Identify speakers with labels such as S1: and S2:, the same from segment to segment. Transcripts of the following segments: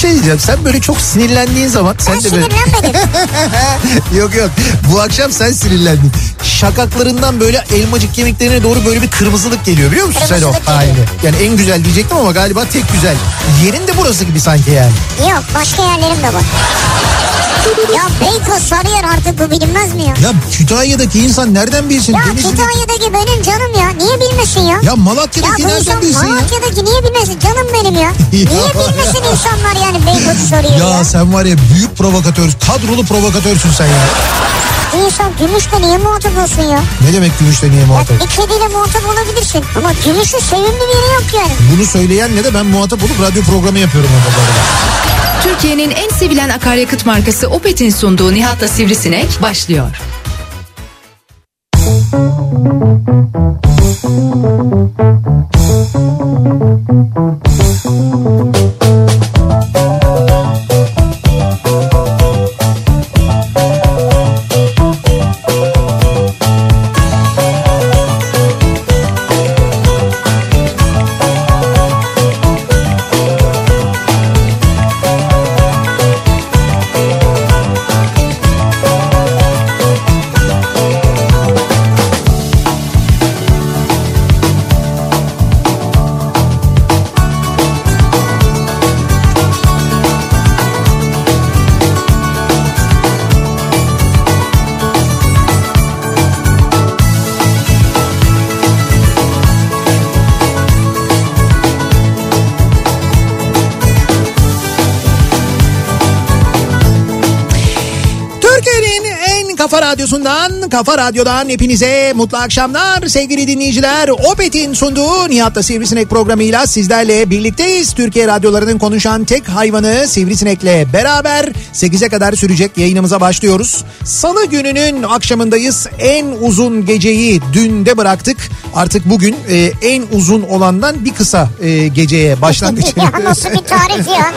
S1: şey diyeceğim. Sen böyle çok sinirlendiğin zaman sen
S2: Ben
S1: de böyle...
S2: sinirlenmedim.
S1: yok yok. Bu akşam sen sinirlendin. Şakaklarından böyle elmacık kemiklerine doğru böyle bir kırmızılık geliyor biliyor musun sen o
S2: Kırmızılık geliyor.
S1: halini? Yani en güzel diyecektim ama galiba tek güzel. Yerin de burası gibi sanki yani.
S2: Yok başka yerlerim de var. Ya Beykoz Sarıyer artık bu bilinmez mi ya?
S1: Ya Kütahya'daki insan nereden bilsin?
S2: Ya
S1: Denizli'de-
S2: Kütahya'daki benim canım ya. Niye bilmesin ya?
S1: Ya
S2: Ya
S1: Malatya'daki
S2: bu
S1: nereden
S2: insan
S1: bilsin ya?
S2: Malatya'daki niye bilmesin canım benim ya? Niye bilmesin insanlar yani Beykoz'u soruyor ya?
S1: Ya sen var ya büyük provokatör, kadrolu provokatörsün sen ya.
S2: İnsan gümüşle niye muhatap olsun ya?
S1: Ne demek gümüşle niye
S2: Bak
S1: muhatap?
S2: bir kediyle muhatap olabilirsin ama gümüşün sevimli biri yok yani.
S1: Bunu söyleyenle de ben muhatap olup radyo programı yapıyorum. orada bu arada.
S3: Türkiye'nin en sevilen akaryakıt markası Opet'in sunduğu Nihat'la Sivrisinek başlıyor.
S1: Türkiye'nin en kafa radyosundan, kafa radyodan hepinize mutlu akşamlar sevgili dinleyiciler. Opet'in sunduğu Nihat'la Sivrisinek programıyla sizlerle birlikteyiz. Türkiye radyolarının konuşan tek hayvanı Sivrisinek'le beraber 8'e kadar sürecek yayınımıza başlıyoruz. Salı gününün akşamındayız. En uzun geceyi dünde bıraktık. Artık bugün e, en uzun olandan bir kısa e, geceye başlandık.
S2: ya nasıl bir tarif ya?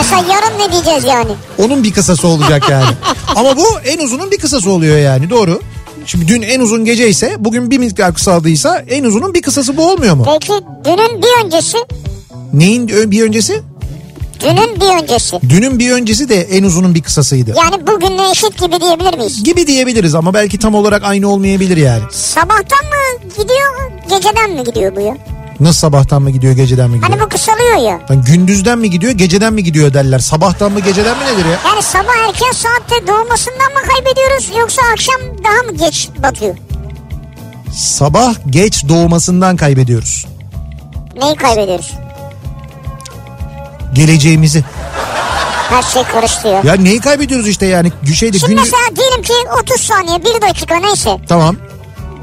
S2: Mesela yarın ne diyeceğiz yani?
S1: Onun bir kısası olacak yani. Ama bu en uzunun bir kısası oluyor yani doğru. Şimdi dün en uzun gece ise bugün bir miktar kısaldıysa en uzunun bir kısası bu olmuyor mu?
S2: Peki dünün bir öncesi,
S1: Neyin ö- bir öncesi?
S2: dünün bir öncesi.
S1: Dünün bir öncesi de en uzunun bir kısasıydı.
S2: Yani bugünle eşit gibi diyebilir miyiz?
S1: Gibi diyebiliriz ama belki tam olarak aynı olmayabilir yani.
S2: Sabahtan mı gidiyor, geceden mi gidiyor bu ya?
S1: Nasıl sabahtan mı gidiyor geceden mi
S2: Hani
S1: gidiyor?
S2: bu kısalıyor ya.
S1: Lan gündüzden mi gidiyor geceden mi gidiyor derler. Sabahtan mı geceden mi nedir ya?
S2: Yani sabah erken saatte doğmasından mı kaybediyoruz yoksa akşam daha mı geç batıyor?
S1: Sabah geç doğmasından kaybediyoruz.
S2: Neyi kaybediyoruz?
S1: Geleceğimizi.
S2: Her şey karıştı ya.
S1: Ya neyi kaybediyoruz işte yani? Şey Şeyde
S2: Şimdi
S1: gün...
S2: mesela diyelim ki 30 saniye 1 dakika neyse
S1: Tamam.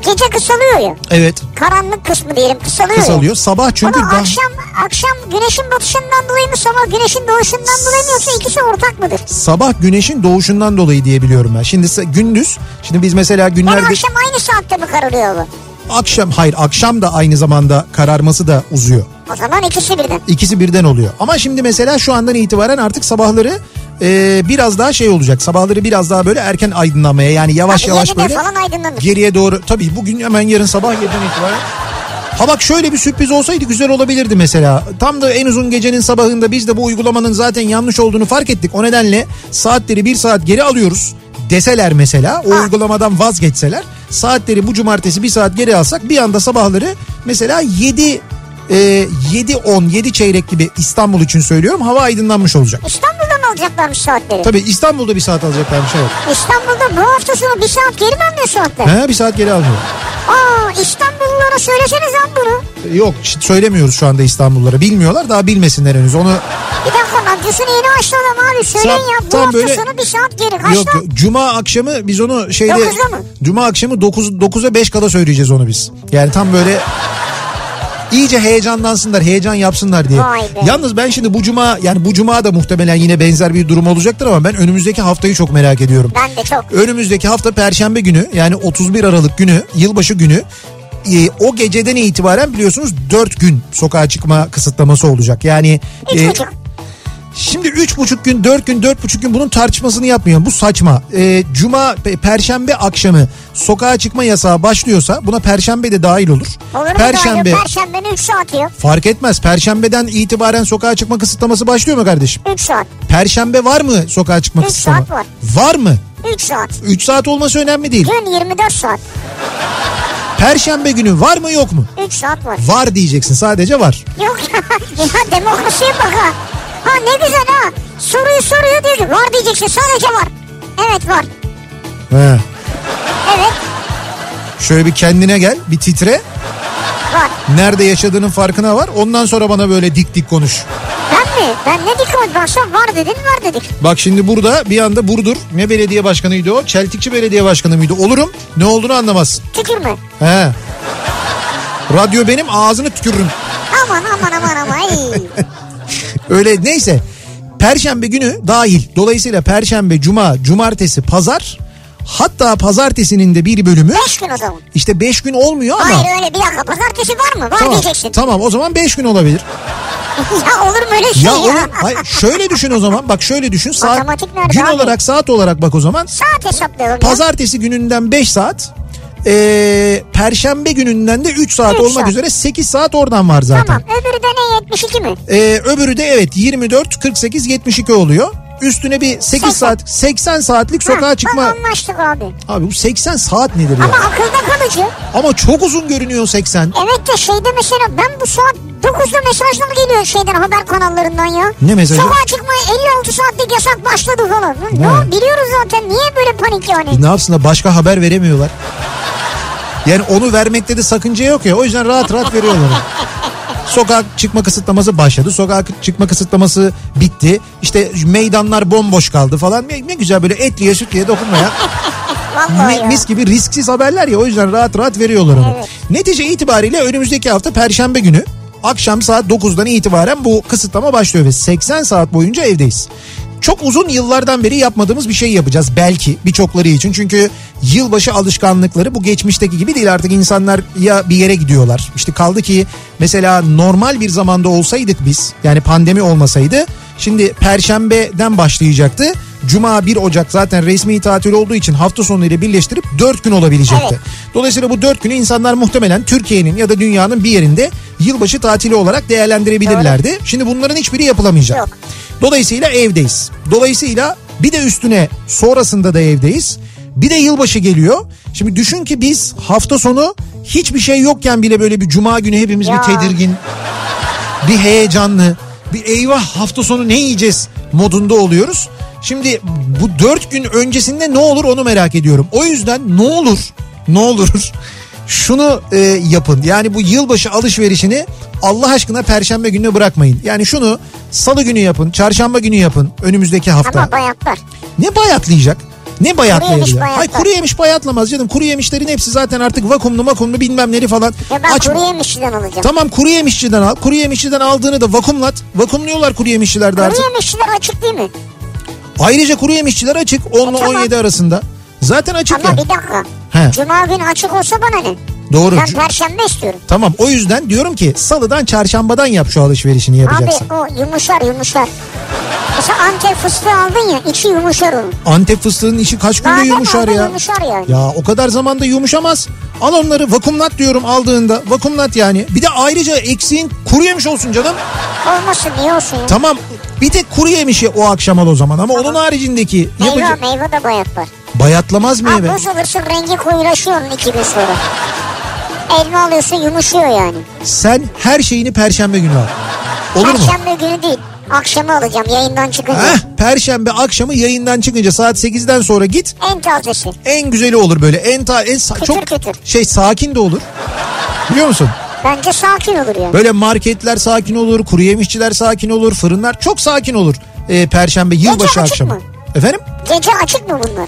S2: gece kısalıyor ya.
S1: Evet.
S2: Karanlık kısmı diyelim kısalıyor ya.
S1: kısalıyor. Sabah çünkü
S2: Ama
S1: daha...
S2: akşam, akşam güneşin batışından dolayı mı sabah güneşin doğuşundan dolayı mı yoksa ikisi ortak mıdır?
S1: sabah güneşin doğuşundan dolayı diye biliyorum ben. Şimdi se- gündüz şimdi biz mesela
S2: Yani
S1: günlerde
S2: akşam aynı saatte mi kararıyor bu?
S1: akşam hayır akşam da aynı zamanda kararması da uzuyor.
S2: O zaman ikisi birden.
S1: İkisi birden oluyor. Ama şimdi mesela şu andan itibaren artık sabahları e, biraz daha şey olacak. Sabahları biraz daha böyle erken aydınlanmaya yani yavaş
S2: Abi
S1: yavaş
S2: yedide
S1: böyle
S2: falan aydınlanır.
S1: geriye doğru. Tabii bugün hemen yarın sabah yerden itibaren. Ha bak şöyle bir sürpriz olsaydı güzel olabilirdi mesela. Tam da en uzun gecenin sabahında biz de bu uygulamanın zaten yanlış olduğunu fark ettik. O nedenle saatleri bir saat geri alıyoruz deseler mesela o uygulamadan vazgeçseler saatleri bu cumartesi bir saat geri alsak bir anda sabahları mesela 7 e, 7 10 7 çeyrek gibi İstanbul için söylüyorum hava aydınlanmış olacak.
S2: İstanbul'da mı alacaklarmış saatleri?
S1: Tabii İstanbul'da bir saat alacaklarmış evet.
S2: İstanbul'da bu hafta sonu bir saat geri mi alıyor saatler?
S1: He, bir saat geri alıyor.
S2: Aa İstanbullulara söyleseniz lan bunu.
S1: Yok ş- söylemiyoruz şu anda İstanbullulara. Bilmiyorlar daha bilmesinler henüz. Onu
S2: Bir dakika radyosunu yeni başladım abi. Söyleyin
S1: Saat-
S2: ya bu
S1: tam
S2: hafta
S1: böyle-
S2: sonu bir saat geri. Kaçta?
S1: yok yok. cuma akşamı biz onu şeyde
S2: Dokuzda mı?
S1: Cuma akşamı 9 9'a 5 kala söyleyeceğiz onu biz. Yani tam böyle iyice heyecanlansınlar, heyecan yapsınlar diye.
S2: Vay be.
S1: Yalnız ben şimdi bu cuma yani bu cuma da muhtemelen yine benzer bir durum olacaktır ama ben önümüzdeki haftayı çok merak ediyorum.
S2: Ben de çok.
S1: Önümüzdeki hafta Perşembe günü yani 31 Aralık günü yılbaşı günü e, o geceden itibaren biliyorsunuz 4 gün sokağa çıkma kısıtlaması olacak. Yani
S2: Üç
S1: e,
S2: buçuk.
S1: Şimdi üç buçuk gün, dört gün, dört buçuk gün bunun tartışmasını yapmıyor. Bu saçma. Ee, Cuma, pe- Perşembe akşamı sokağa çıkma yasağı başlıyorsa buna Perşembe de dahil olur.
S2: Olur mu
S1: Perşembe
S2: Doğru? Perşembenin 3 saati yok.
S1: fark etmez. Perşembeden itibaren sokağa çıkma kısıtlaması başlıyor mu kardeşim?
S2: 3 saat.
S1: Perşembe var mı sokağa çıkma
S2: Üç
S1: kısıtlama?
S2: saat var.
S1: Var mı?
S2: 3 saat.
S1: 3 saat olması önemli değil.
S2: Gün 24 saat.
S1: Perşembe günü var mı yok mu?
S2: 3 saat var.
S1: Var diyeceksin sadece var.
S2: Yok ya. ya demokrasiye bak ha. Ha ne güzel ha. Soruyu soruyor diyor ki var diyeceksin sadece var. Evet var.
S1: He.
S2: Evet
S1: Şöyle bir kendine gel bir titre.
S2: var.
S1: Nerede yaşadığının farkına var. Ondan sonra bana böyle dik dik konuş.
S2: Ben mi? Ben ne dikkat baksam var dedin var dedik.
S1: Bak şimdi burada bir anda Burdur ne belediye başkanıydı o? Çeltikçi belediye başkanı mıydı? Olurum ne olduğunu anlamazsın.
S2: Tükürme.
S1: He. Radyo benim ağzını tükürürüm.
S2: Aman aman aman aman. Ey.
S1: Öyle neyse. Perşembe günü dahil. Dolayısıyla perşembe, cuma, cumartesi, pazar hatta pazartesinin de bir bölümü
S2: Beş gün o zaman.
S1: işte 5 gün olmuyor ama
S2: Hayır öyle bir dakika pazartesi var mı? Var
S1: Tamam,
S2: diyeceksin.
S1: tamam o zaman 5 gün olabilir.
S2: ya olur mu öyle şey
S1: Ya
S2: ya?
S1: oğlum hayır, şöyle düşün o zaman bak şöyle düşün saat
S2: Matematik nerede
S1: gün
S2: abi?
S1: olarak saat olarak bak o zaman
S2: Saat hesaplayalım ya.
S1: pazartesi gününden 5 saat ee, perşembe gününden de 3 saat
S2: Üç
S1: olmak
S2: saat.
S1: üzere 8 saat oradan var zaten.
S2: Tamam öbürü de ne 72 mi?
S1: Ee, öbürü de evet 24 48 72 oluyor. Üstüne bir 8 saat 80 saatlik sokağa
S2: Ha,
S1: çıkma.
S2: Bak anlaştık abi.
S1: Abi bu 80 saat nedir
S2: Ama
S1: ya?
S2: akılda kalıcı.
S1: Ama çok uzun görünüyor 80.
S2: Evet de şeyde mesela ben bu saat 9'da mesajlar geliyor şeyden haber kanallarından ya.
S1: Ne mesajı?
S2: Sokağa çıkma 56 saatlik yasak başladı falan. Hı, Ne?
S1: Ne?
S2: biliyoruz zaten niye böyle panik yani?
S1: E ne yapsın da başka haber veremiyorlar. Yani onu vermekte de sakınca yok ya. O yüzden rahat rahat veriyorlar. Sokağa çıkma kısıtlaması başladı. Sokağa çıkma kısıtlaması bitti. İşte meydanlar bomboş kaldı falan. Ne, ne güzel böyle etliye sütliye dokunmayan
S2: Vallahi
S1: mi-
S2: ya.
S1: mis gibi risksiz haberler ya. O yüzden rahat rahat veriyorlar onu.
S2: Evet.
S1: Netice itibariyle önümüzdeki hafta perşembe günü akşam saat 9'dan itibaren bu kısıtlama başlıyor ve 80 saat boyunca evdeyiz. Çok uzun yıllardan beri yapmadığımız bir şey yapacağız belki birçokları için. Çünkü yılbaşı alışkanlıkları bu geçmişteki gibi değil artık insanlar ya bir yere gidiyorlar. İşte kaldı ki mesela normal bir zamanda olsaydık biz yani pandemi olmasaydı şimdi perşembeden başlayacaktı. Cuma 1 Ocak zaten resmi tatil olduğu için hafta sonuyla birleştirip 4 gün olabilecekti.
S2: Evet.
S1: Dolayısıyla bu dört günü insanlar muhtemelen Türkiye'nin ya da dünyanın bir yerinde yılbaşı tatili olarak değerlendirebilirlerdi. Şimdi bunların hiçbiri yapılamayacak.
S2: Yok.
S1: Dolayısıyla evdeyiz. Dolayısıyla bir de üstüne sonrasında da evdeyiz. Bir de yılbaşı geliyor. Şimdi düşün ki biz hafta sonu hiçbir şey yokken bile böyle bir cuma günü hepimiz
S2: Ya.
S1: bir tedirgin, bir heyecanlı, bir eyvah hafta sonu ne yiyeceğiz modunda oluyoruz. Şimdi bu dört gün öncesinde ne olur onu merak ediyorum. O yüzden ne olur ne olur şunu e, yapın. Yani bu yılbaşı alışverişini Allah aşkına perşembe gününe bırakmayın. Yani şunu salı günü yapın, çarşamba günü yapın önümüzdeki hafta.
S2: Ama bayatlar.
S1: Ne bayatlayacak? Ne bayatlayabilir?
S2: Kuru yemiş
S1: Hayır
S2: bayatlar.
S1: kuru yemiş bayatlamaz canım. Kuru yemişlerin hepsi zaten artık vakumlu makumlu bilmem neli falan.
S2: Ya ben
S1: Aç-
S2: kuru yemişçiden alacağım.
S1: Tamam kuru yemişçiden al. Kuru yemişçiden aldığını da vakumlat. Vakumluyorlar kuru yemişçilerde artık.
S2: Kuru yemişçiler açık değil mi?
S1: Ayrıca kuru yemişçiler açık. 10 ile
S2: tamam.
S1: 17 arasında. Zaten açık
S2: Ama
S1: ya.
S2: bir dakika.
S1: He.
S2: Cuma günü açık olsa bana ne?
S1: Doğru.
S2: Ben
S1: Cu-
S2: perşembe istiyorum.
S1: Tamam o yüzden diyorum ki salıdan çarşambadan yap şu alışverişini yapacaksın.
S2: Abi o yumuşar yumuşar. Mesela Antep fıstığı aldın ya içi yumuşar onun.
S1: Antep fıstığının içi kaç günde
S2: Badem
S1: yumuşar
S2: aldın,
S1: ya.
S2: yumuşar yani.
S1: Ya o kadar zamanda yumuşamaz. Al onları vakumlat diyorum aldığında. Vakumlat yani. Bir de ayrıca eksiğin kuru yemiş olsun canım.
S2: Olmasın niye olsun ya?
S1: Tamam bir tek kuru yemişi o akşam al o zaman. Ama onun haricindeki
S2: Meyve
S1: yapacak...
S2: meyve de bayat var.
S1: Bayatlamaz mı
S2: Abi
S1: eve?
S2: bozulursun rengi koyulaşıyor onun iki gün sonra. Elma alıyorsun yumuşuyor yani.
S1: Sen her şeyini perşembe günü al. Olur mu?
S2: Perşembe günü değil. Akşamı alacağım yayından çıkınca.
S1: Heh, perşembe akşamı yayından çıkınca saat 8'den sonra git.
S2: En tazesi.
S1: En güzeli olur böyle. En ta en sa-
S2: Kıtır
S1: çok
S2: kıtır.
S1: şey sakin de olur. Biliyor musun?
S2: Bence sakin olur yani.
S1: Böyle marketler sakin olur, kuru yemişçiler sakin olur, fırınlar çok sakin olur. Ee, perşembe yılbaşı
S2: Gece açık
S1: akşamı.
S2: mı?
S1: Efendim?
S2: Gece açık mı bunlar?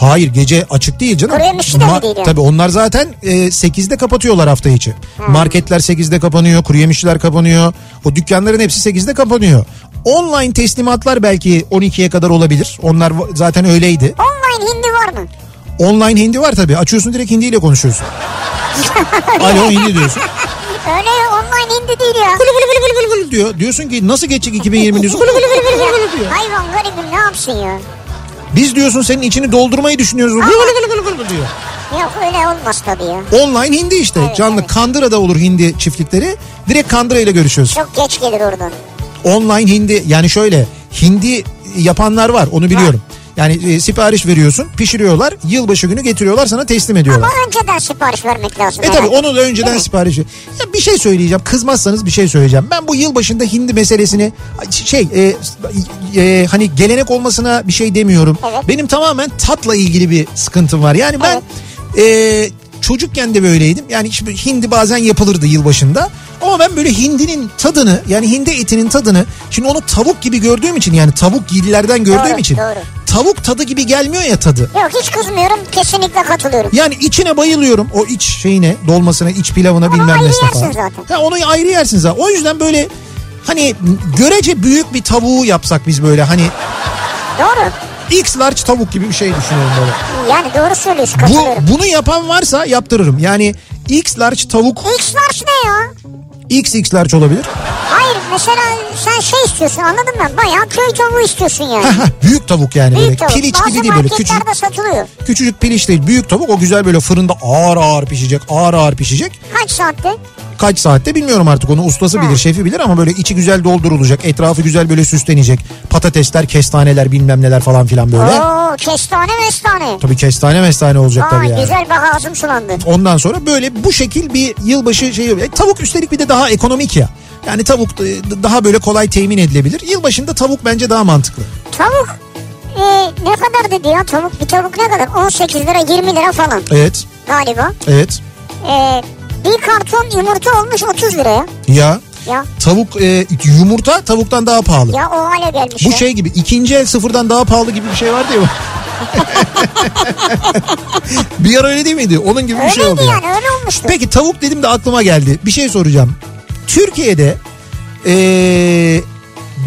S1: Hayır gece açık değil canım.
S2: Kuru yemişçi de mi değil yani?
S1: Tabii onlar zaten e, 8'de kapatıyorlar hafta içi.
S2: Hmm.
S1: Marketler 8'de kapanıyor, kuru yemişçiler kapanıyor. O dükkanların hepsi 8'de kapanıyor. Online teslimatlar belki 12'ye kadar olabilir. Onlar va- zaten öyleydi.
S2: Online hindi var mı?
S1: Online hindi var tabii. Açıyorsun direkt hindiyle konuşuyorsun. Alo hindi diyorsun.
S2: Öyle online hemen indi değil ya.
S1: Gulu gulu gulu gulu gulu gulu diyor. Diyorsun ki nasıl geçecek 2020 diyorsun. Gulu gulu gulu gulu gulu gulu diyor.
S2: Hayvan garibim ne yapsın ya?
S1: Biz diyorsun senin içini doldurmayı düşünüyoruz. Gulu gulu gulu gulu gulu diyor.
S2: Yok öyle olmaz tabii ya.
S1: Online hindi işte. Canlı Kandıra'da olur hindi çiftlikleri. Direkt Kandıra ile görüşüyoruz.
S2: Çok geç gelir oradan.
S1: Online hindi yani şöyle hindi yapanlar var onu biliyorum. Yani e, sipariş veriyorsun pişiriyorlar yılbaşı günü getiriyorlar sana teslim ediyorlar.
S2: Ama önceden sipariş vermek lazım.
S1: E tabi
S2: herhalde.
S1: onu da önceden sipariş ver- Ya bir şey söyleyeceğim kızmazsanız bir şey söyleyeceğim. Ben bu yılbaşında hindi meselesini şey e, e, hani gelenek olmasına bir şey demiyorum.
S2: Evet.
S1: Benim tamamen tatla ilgili bir sıkıntım var. Yani ben e, çocukken de böyleydim. Yani şimdi hindi bazen yapılırdı yılbaşında. Ama ben böyle hindinin tadını yani hindi etinin tadını şimdi onu tavuk gibi gördüğüm için yani tavuk yedilerden gördüğüm
S2: Doğru,
S1: için
S2: doğru.
S1: tavuk tadı gibi gelmiyor ya tadı.
S2: Yok hiç kızmıyorum kesinlikle katılıyorum.
S1: Yani içine bayılıyorum o iç şeyine, dolmasına, iç pilavına
S2: Onu
S1: bilmem
S2: ayrı
S1: nesine
S2: yersin
S1: falan.
S2: zaten.
S1: Ha, onu ayrı yersin zaten. O yüzden böyle hani görece büyük bir tavuğu yapsak biz böyle hani
S2: Doğru.
S1: X large tavuk gibi bir şey düşünüyorum böyle.
S2: Yani doğru söylüyorsun katılıyorum.
S1: Bu, bunu yapan varsa yaptırırım. Yani X large tavuk
S2: X large ne ya?
S1: XX large olabilir.
S2: Hayır mesela sen şey istiyorsun anladın mı? Bayağı köy tavuğu istiyorsun yani.
S1: büyük tavuk yani böyle.
S2: Büyük tavuk.
S1: Piliç
S2: Bazı
S1: gibi değil böyle küçük.
S2: marketlerde satılıyor.
S1: Küçücük piliç değil büyük tavuk o güzel böyle fırında ağır ağır pişecek ağır ağır pişecek.
S2: Kaç saatte?
S1: kaç saatte bilmiyorum artık onu ustası bilir şefi bilir ama böyle içi güzel doldurulacak etrafı güzel böyle süslenecek patatesler kestaneler bilmem neler falan filan böyle.
S2: Oo kestane mestane.
S1: Tabii kestane mestane olacak tabii
S2: Ay
S1: yani.
S2: güzel bak ağzım sulandı.
S1: Ondan sonra böyle bu şekil bir yılbaşı şeyi E, tavuk üstelik bir de daha ekonomik ya. Yani tavuk e, d- daha böyle kolay temin edilebilir. Yılbaşında tavuk bence daha mantıklı.
S2: Tavuk e, ne kadar dedi ya tavuk? Bir tavuk ne kadar? 18 lira 20 lira falan
S1: Evet.
S2: galiba.
S1: Evet.
S2: E, bir karton yumurta olmuş 30 liraya.
S1: Ya
S2: Ya
S1: tavuk e, yumurta tavuktan daha pahalı.
S2: ya o hale gelmiş.
S1: Bu
S2: ya.
S1: şey gibi ikinci el sıfırdan daha pahalı gibi bir şey vardı ya. bir ara öyle değil miydi? Onun gibi bir şey oldu.
S2: Öyleydi
S1: ya.
S2: yani öyle olmuştu.
S1: Peki tavuk dedim de aklıma geldi. Bir şey soracağım. Türkiye'de eee,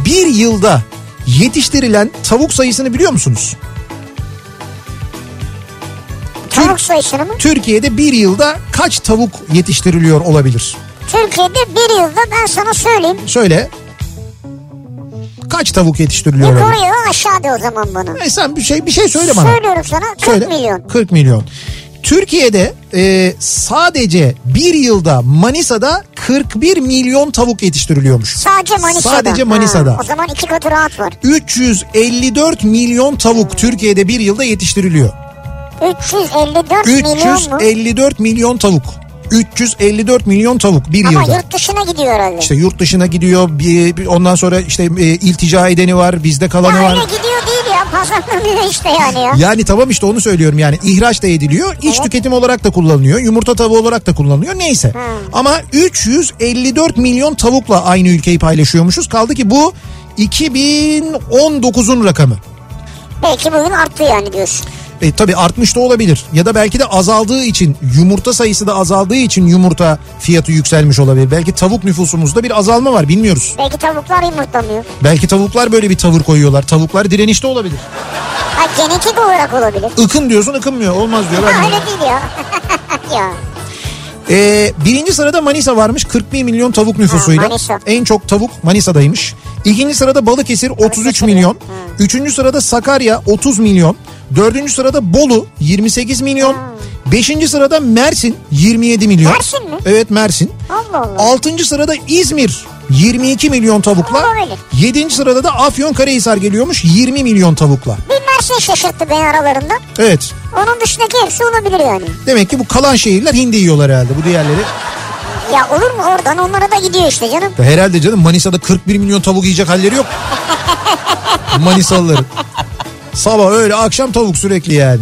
S1: bir yılda yetiştirilen tavuk sayısını biliyor musunuz?
S2: Tavuk sayısını mı?
S1: Türkiye'de bir yılda kaç tavuk yetiştiriliyor olabilir?
S2: Türkiye'de bir yılda ben sana söyleyeyim.
S1: Söyle. Kaç tavuk yetiştiriliyor?
S2: Bir
S1: olabilir?
S2: koruyor aşağıda o zaman bunu.
S1: E sen bir şey bir şey söyle bana.
S2: Söylüyorum sana 40
S1: Söyle.
S2: milyon.
S1: 40 milyon. Türkiye'de e, sadece bir yılda Manisa'da 41 milyon tavuk yetiştiriliyormuş.
S2: Sadece Manisa'da.
S1: Sadece Manisa'da.
S2: Ha, o zaman iki katı rahat var.
S1: 354 milyon tavuk Türkiye'de bir yılda yetiştiriliyor.
S2: 354 milyon mu?
S1: 354 milyon tavuk. 354 milyon tavuk bir
S2: Ama
S1: yılda.
S2: yurt dışına gidiyor herhalde.
S1: İşte yurt dışına gidiyor. bir- bir- ondan sonra işte e, iltica edeni var, bizde kalanı
S2: ya öyle
S1: var.
S2: gidiyor değil ya pazarlanıyor işte yani ya.
S1: Yani tamam işte onu söylüyorum yani ihraç da ediliyor. iç tüketim olarak da kullanılıyor. Yumurta tavuğu olarak da kullanılıyor. Neyse. Ama 354 milyon tavukla aynı ülkeyi paylaşıyormuşuz. Kaldı ki bu 2019'un rakamı.
S2: Belki bugün arttı yani diyorsun.
S1: E, tabii artmış da olabilir. Ya da belki de azaldığı için yumurta sayısı da azaldığı için yumurta fiyatı yükselmiş olabilir. Belki tavuk nüfusumuzda bir azalma var bilmiyoruz.
S2: Belki tavuklar yumurtlamıyor.
S1: Belki tavuklar böyle bir tavır koyuyorlar. Tavuklar direnişte olabilir.
S2: Ha genetik olarak olabilir.
S1: Ikın diyorsun ıkınmıyor olmaz diyor.
S2: Ha,
S1: Ben-
S2: öyle değil ya. ya.
S1: Ee, birinci sırada Manisa varmış 41 milyon tavuk nüfusuyla.
S2: Ha, Manisa.
S1: En çok tavuk Manisa'daymış. İkinci sırada Balıkesir 33 milyon. Üçüncü sırada Sakarya 30 milyon. Dördüncü sırada Bolu 28 milyon. Beşinci sırada Mersin 27 milyon.
S2: Mersin mi?
S1: Evet Mersin.
S2: Allah Allah.
S1: Altıncı sırada İzmir 22 milyon tavukla.
S2: Olabilir.
S1: Yedinci sırada da Afyonkarahisar geliyormuş 20 milyon tavukla.
S2: Bir Mersin şaşırttı beni aralarında.
S1: Evet.
S2: Onun dışındaki hepsi olabilir yani.
S1: Demek ki bu kalan şehirler hindi yiyorlar herhalde bu diğerleri.
S2: Ya olur mu oradan onlara da gidiyor işte canım.
S1: Ya herhalde canım Manisa'da 41 milyon tavuk yiyecek halleri yok. Manisalıların. Sabah öyle akşam tavuk sürekli yani.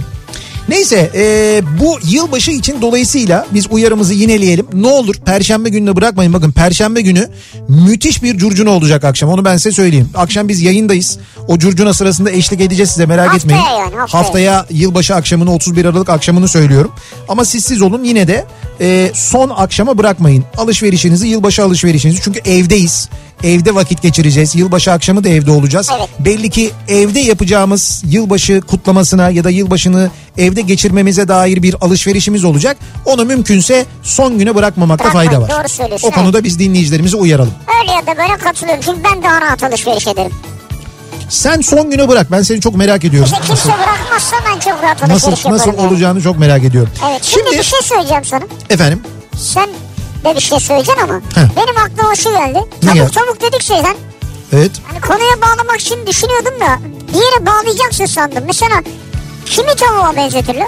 S1: Neyse eee, bu yılbaşı için dolayısıyla biz uyarımızı yineleyelim. Ne olur perşembe gününe bırakmayın. Bakın perşembe günü müthiş bir curcuna olacak akşam. Onu ben size söyleyeyim. Akşam biz yayındayız. O curcuna sırasında eşlik edeceğiz size merak
S2: Haftaya
S1: etmeyin.
S2: yani, haftaya.
S1: haftaya yılbaşı akşamını 31 Aralık akşamını söylüyorum. Ama siz siz olun yine e, de eee, son akşama bırakmayın. Alışverişinizi yılbaşı alışverişinizi. Çünkü evdeyiz. Evde vakit geçireceğiz. Yılbaşı akşamı da evde olacağız.
S2: Evet.
S1: Belli ki evde yapacağımız yılbaşı kutlamasına ya da yılbaşını evde geçirmemize dair bir alışverişimiz olacak. Onu mümkünse son güne bırakmamakta
S2: Bırakmayın,
S1: fayda var.
S2: doğru söylüyorsun,
S1: o konuda biz dinleyicilerimizi uyaralım.
S2: Öyle ya da böyle katılıyorum. Çünkü ben daha rahat alışveriş ederim.
S1: Sen son güne bırak. Ben seni çok merak ediyorum.
S2: İşte kimse
S1: Nasıl,
S2: bırakmazsa ben çok rahat alışveriş
S1: nasıl,
S2: yaparım.
S1: nasıl
S2: yani.
S1: olacağını çok merak ediyorum.
S2: Evet şimdi, bir şey söyleyeceğim sana.
S1: efendim
S2: Sen de bir şey söyleyeceksin ama.
S1: He.
S2: Benim aklıma şu geldi.
S1: Ne
S2: Tavuk
S1: geldi?
S2: tavuk dedik şeyden.
S1: evet
S2: Hani konuya bağlamak için düşünüyordum da bir yere bağlayacaksın sandım. Mesela kimi tavuğa benzetirler?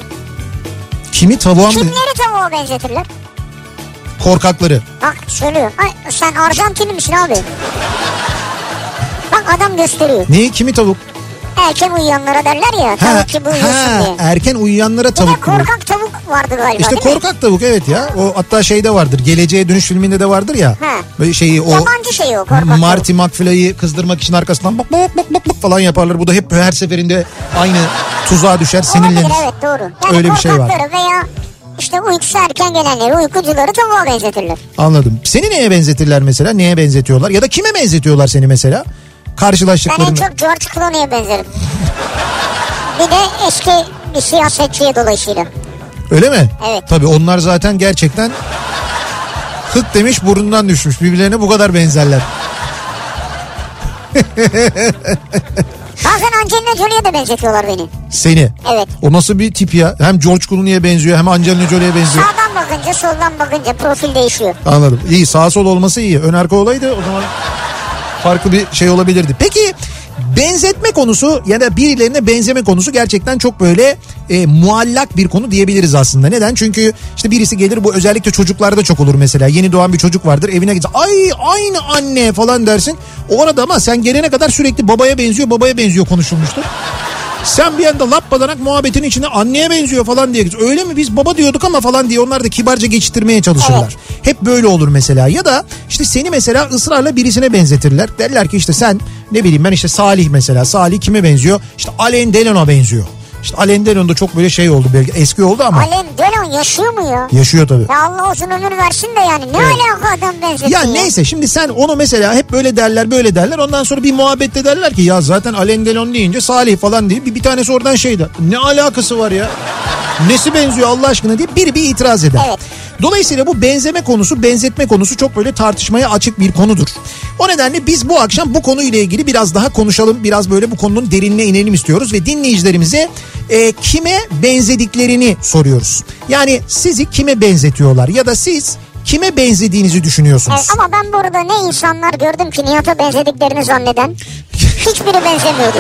S1: kimi tavuğa mı
S2: Kimleri tavuğa benzetirler?
S1: korkakları.
S2: Bak söylüyorum. Ay, sen Arjantinli misin abi? Bak adam gösteriyor.
S1: Neyi kimi tavuk?
S2: Erken uyuyanlara derler ya tavuk gibi uyuyorsun diye.
S1: erken uyuyanlara
S2: Bir de
S1: tavuk diyor.
S2: korkak tavuk vardı galiba
S1: İşte
S2: değil mi?
S1: korkak tavuk evet ya. O hatta şeyde vardır. Geleceğe Dönüş filminde de vardır ya.
S2: Ha.
S1: Böyle şeyi o
S2: Yabancı şey o korkak tavuk.
S1: Marty McFly'ı kızdırmak için arkasından bak bak bak bak bak falan yaparlar. Bu da hep her seferinde aynı tuzağa düşer sinirlenir.
S2: Olabilir evet doğru. Yani
S1: Öyle bir şey var.
S2: korkakları veya işte uykusu erken gelenleri uykucuları tavuğa benzetirler.
S1: Anladım. Seni neye benzetirler mesela? Neye benzetiyorlar? Ya da kime benzetiyorlar seni mesela?
S2: Ben en
S1: Karşılaştıklarını.
S2: çok George Clooney'e benzerim. bir de eski bir siyasetçiye dolayısıyla.
S1: Öyle mi?
S2: Evet.
S1: Tabii onlar zaten gerçekten hık demiş burundan düşmüş. Birbirlerine bu kadar benzerler.
S2: Bazen Angelina Jolie'ye de benzetiyorlar beni.
S1: Seni.
S2: Evet.
S1: O nasıl bir tip ya? Hem George Clooney'e benziyor hem Angelina Jolie'ye benziyor.
S2: Sağdan bakınca soldan bakınca profil değişiyor.
S1: Anladım. İyi sağ sol olması iyi. Ön arka olaydı o zaman farklı bir şey olabilirdi. Peki benzetme konusu ya da birilerine benzeme konusu gerçekten çok böyle e, muallak bir konu diyebiliriz aslında. Neden? Çünkü işte birisi gelir bu özellikle çocuklarda çok olur mesela. Yeni doğan bir çocuk vardır evine gitsin. Ay aynı anne falan dersin. O arada ama sen gelene kadar sürekli babaya benziyor babaya benziyor konuşulmuştur. Sen bir anda lappadanak muhabbetin içinde anneye benziyor falan diye. Öyle mi biz baba diyorduk ama falan diye onlar da kibarca geçiştirmeye çalışırlar. Hep böyle olur mesela. Ya da işte seni mesela ısrarla birisine benzetirler. Derler ki işte sen ne bileyim ben işte Salih mesela. Salih kime benziyor? İşte Alain Delon'a benziyor. İşte Alain Delon da çok böyle şey oldu. belki Eski oldu ama
S2: Alem Delon yaşıyor mu ya?
S1: yaşıyor tabii.
S2: Ya Allah uzun ömür versin de yani ne alaka adam benzetiyor?
S1: Ya neyse şimdi sen onu mesela hep böyle derler böyle derler ondan sonra bir muhabbette derler ki ya zaten Alain Delon deyince Salih falan diye bir, bir tanesi oradan şey der. Ne alakası var ya? Nesi benziyor Allah aşkına diye biri bir itiraz eder.
S2: Evet.
S1: Dolayısıyla bu benzeme konusu benzetme konusu çok böyle tartışmaya açık bir konudur. O nedenle biz bu akşam bu konuyla ilgili biraz daha konuşalım. Biraz böyle bu konunun derinine inelim istiyoruz ve dinleyicilerimize e, kime benzediklerini soruyoruz. Yani sizi kime benzetiyorlar ya da siz kime benzediğinizi düşünüyorsunuz?
S2: Evet, E, ama ben burada ne insanlar gördüm ki Nihat'a benzediklerini zanneden. Hiçbiri benzemiyordu.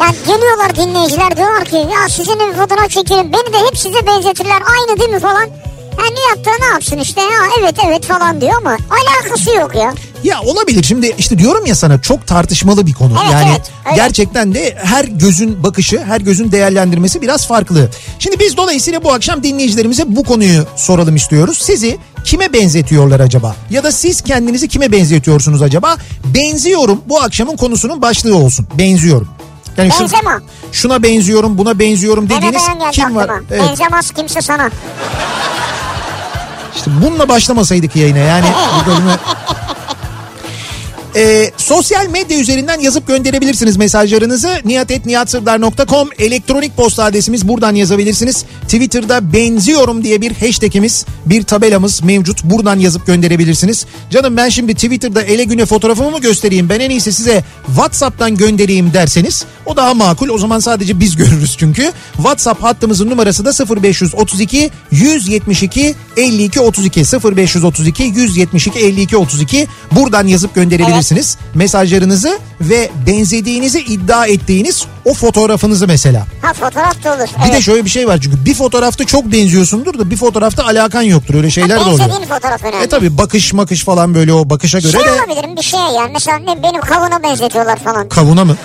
S2: Yani geliyorlar dinleyiciler diyorlar ki ya sizinle bir fotoğraf çekelim beni de hep size benzetirler aynı değil mi falan. Yani Nihat da ne yapsın işte ya evet evet falan diyor ama alakası yok ya.
S1: Ya olabilir şimdi işte diyorum ya sana çok tartışmalı bir konu.
S2: Evet,
S1: yani
S2: evet, evet.
S1: gerçekten de her gözün bakışı, her gözün değerlendirmesi biraz farklı. Şimdi biz dolayısıyla bu akşam dinleyicilerimize bu konuyu soralım istiyoruz. Sizi kime benzetiyorlar acaba? Ya da siz kendinizi kime benzetiyorsunuz acaba? Benziyorum bu akşamın konusunun başlığı olsun. Benziyorum. Yani şu-
S2: Benzema.
S1: şuna benziyorum, buna benziyorum
S2: Bana
S1: dediğiniz
S2: dayan geldi
S1: kim var?
S2: aklıma.
S1: Evet.
S2: Benzemez kimse sana.
S1: İşte bununla başlamasaydık yayına yani bu bölümü... Ee, sosyal medya üzerinden yazıp gönderebilirsiniz mesajlarınızı. niyatetniyatsırdar.com elektronik posta adresimiz buradan yazabilirsiniz. Twitter'da benziyorum diye bir hashtagimiz, bir tabelamız mevcut. Buradan yazıp gönderebilirsiniz. Canım ben şimdi Twitter'da ele güne fotoğrafımı mı göstereyim? Ben en iyisi size WhatsApp'tan göndereyim derseniz o daha makul. O zaman sadece biz görürüz çünkü. WhatsApp hattımızın numarası da 0532 172 52 32 0532 172 52 32 buradan yazıp gönderebilirsiniz mesajlarınızı ve benzediğinizi iddia ettiğiniz o fotoğrafınızı mesela.
S2: Ha fotoğraf da olur.
S1: Bir de
S2: evet.
S1: şöyle bir şey var çünkü bir fotoğrafta çok benziyorsundur da bir fotoğrafta alakan yoktur öyle şeyler de oluyor.
S2: Benzediğin fotoğraf önemli.
S1: E tabi bakış makış falan böyle o bakışa göre
S2: şey
S1: de
S2: olabilirim bir şeye yani mesela ne, benim kavuna benzetiyorlar falan.
S1: kavuna mı?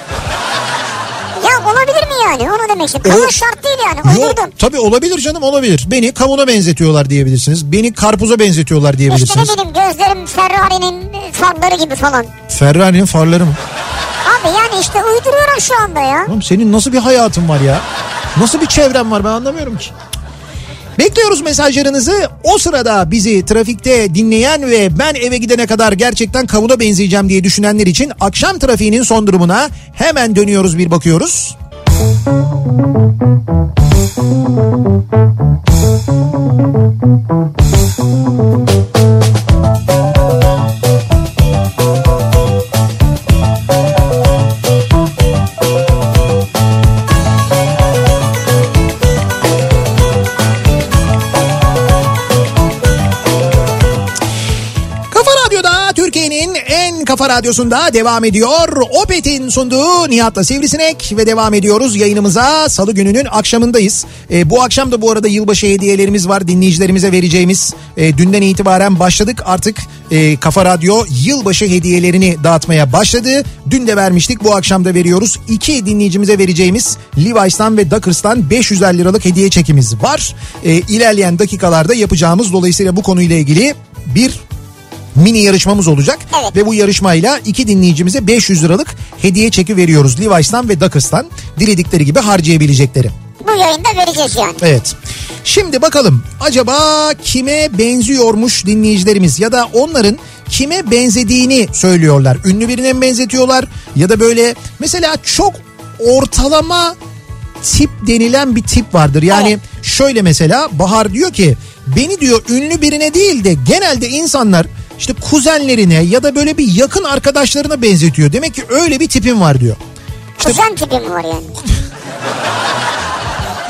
S2: Ya olabilir mi yani? Onu demek istedim. Kavun
S1: Ol-
S2: şart değil yani.
S1: Yok
S2: Uydurdum.
S1: tabii olabilir canım olabilir. Beni kavuna benzetiyorlar diyebilirsiniz. Beni karpuza benzetiyorlar
S2: İşte ne
S1: diyebilirsiniz.
S2: bileyim gözlerim Ferrari'nin farları gibi falan.
S1: Ferrari'nin farları mı?
S2: Abi yani işte uyduruyorum şu anda ya.
S1: Oğlum senin nasıl bir hayatın var ya? Nasıl bir çevren var ben anlamıyorum ki. Bekliyoruz mesajlarınızı. O sırada bizi trafikte dinleyen ve ben eve gidene kadar gerçekten kavuna benzeyeceğim diye düşünenler için akşam trafiğinin son durumuna hemen dönüyoruz bir bakıyoruz. Kafa Radyo'da Türkiye'nin en kafa radyosunda devam ediyor. Opet'in sunduğu Nihat'la Sivrisinek ve devam ediyoruz yayınımıza. Salı gününün akşamındayız. E, bu akşam da bu arada yılbaşı hediyelerimiz var dinleyicilerimize vereceğimiz. E, dünden itibaren başladık artık e, Kafa Radyo yılbaşı hediyelerini dağıtmaya başladı. Dün de vermiştik bu akşam da veriyoruz. İki dinleyicimize vereceğimiz Levi's'tan ve Duckers'tan 550 liralık hediye çekimiz var. E, ilerleyen dakikalarda yapacağımız dolayısıyla bu konuyla ilgili bir mini yarışmamız olacak.
S2: Evet.
S1: Ve bu yarışmayla iki dinleyicimize 500 liralık hediye çeki veriyoruz. Levi's'tan ve Duckers'tan diledikleri gibi harcayabilecekleri.
S2: Bu yayında vereceğiz yani.
S1: Evet. Şimdi bakalım acaba kime benziyormuş dinleyicilerimiz ya da onların kime benzediğini söylüyorlar. Ünlü birine mi benzetiyorlar ya da böyle mesela çok ortalama tip denilen bir tip vardır. Yani
S2: Evet.
S1: şöyle mesela Bahar diyor ki beni diyor ünlü birine değil de genelde insanlar işte kuzenlerine ya da böyle bir yakın arkadaşlarına benzetiyor. Demek ki öyle bir tipim var diyor.
S2: Kuzen tipi mi var yani?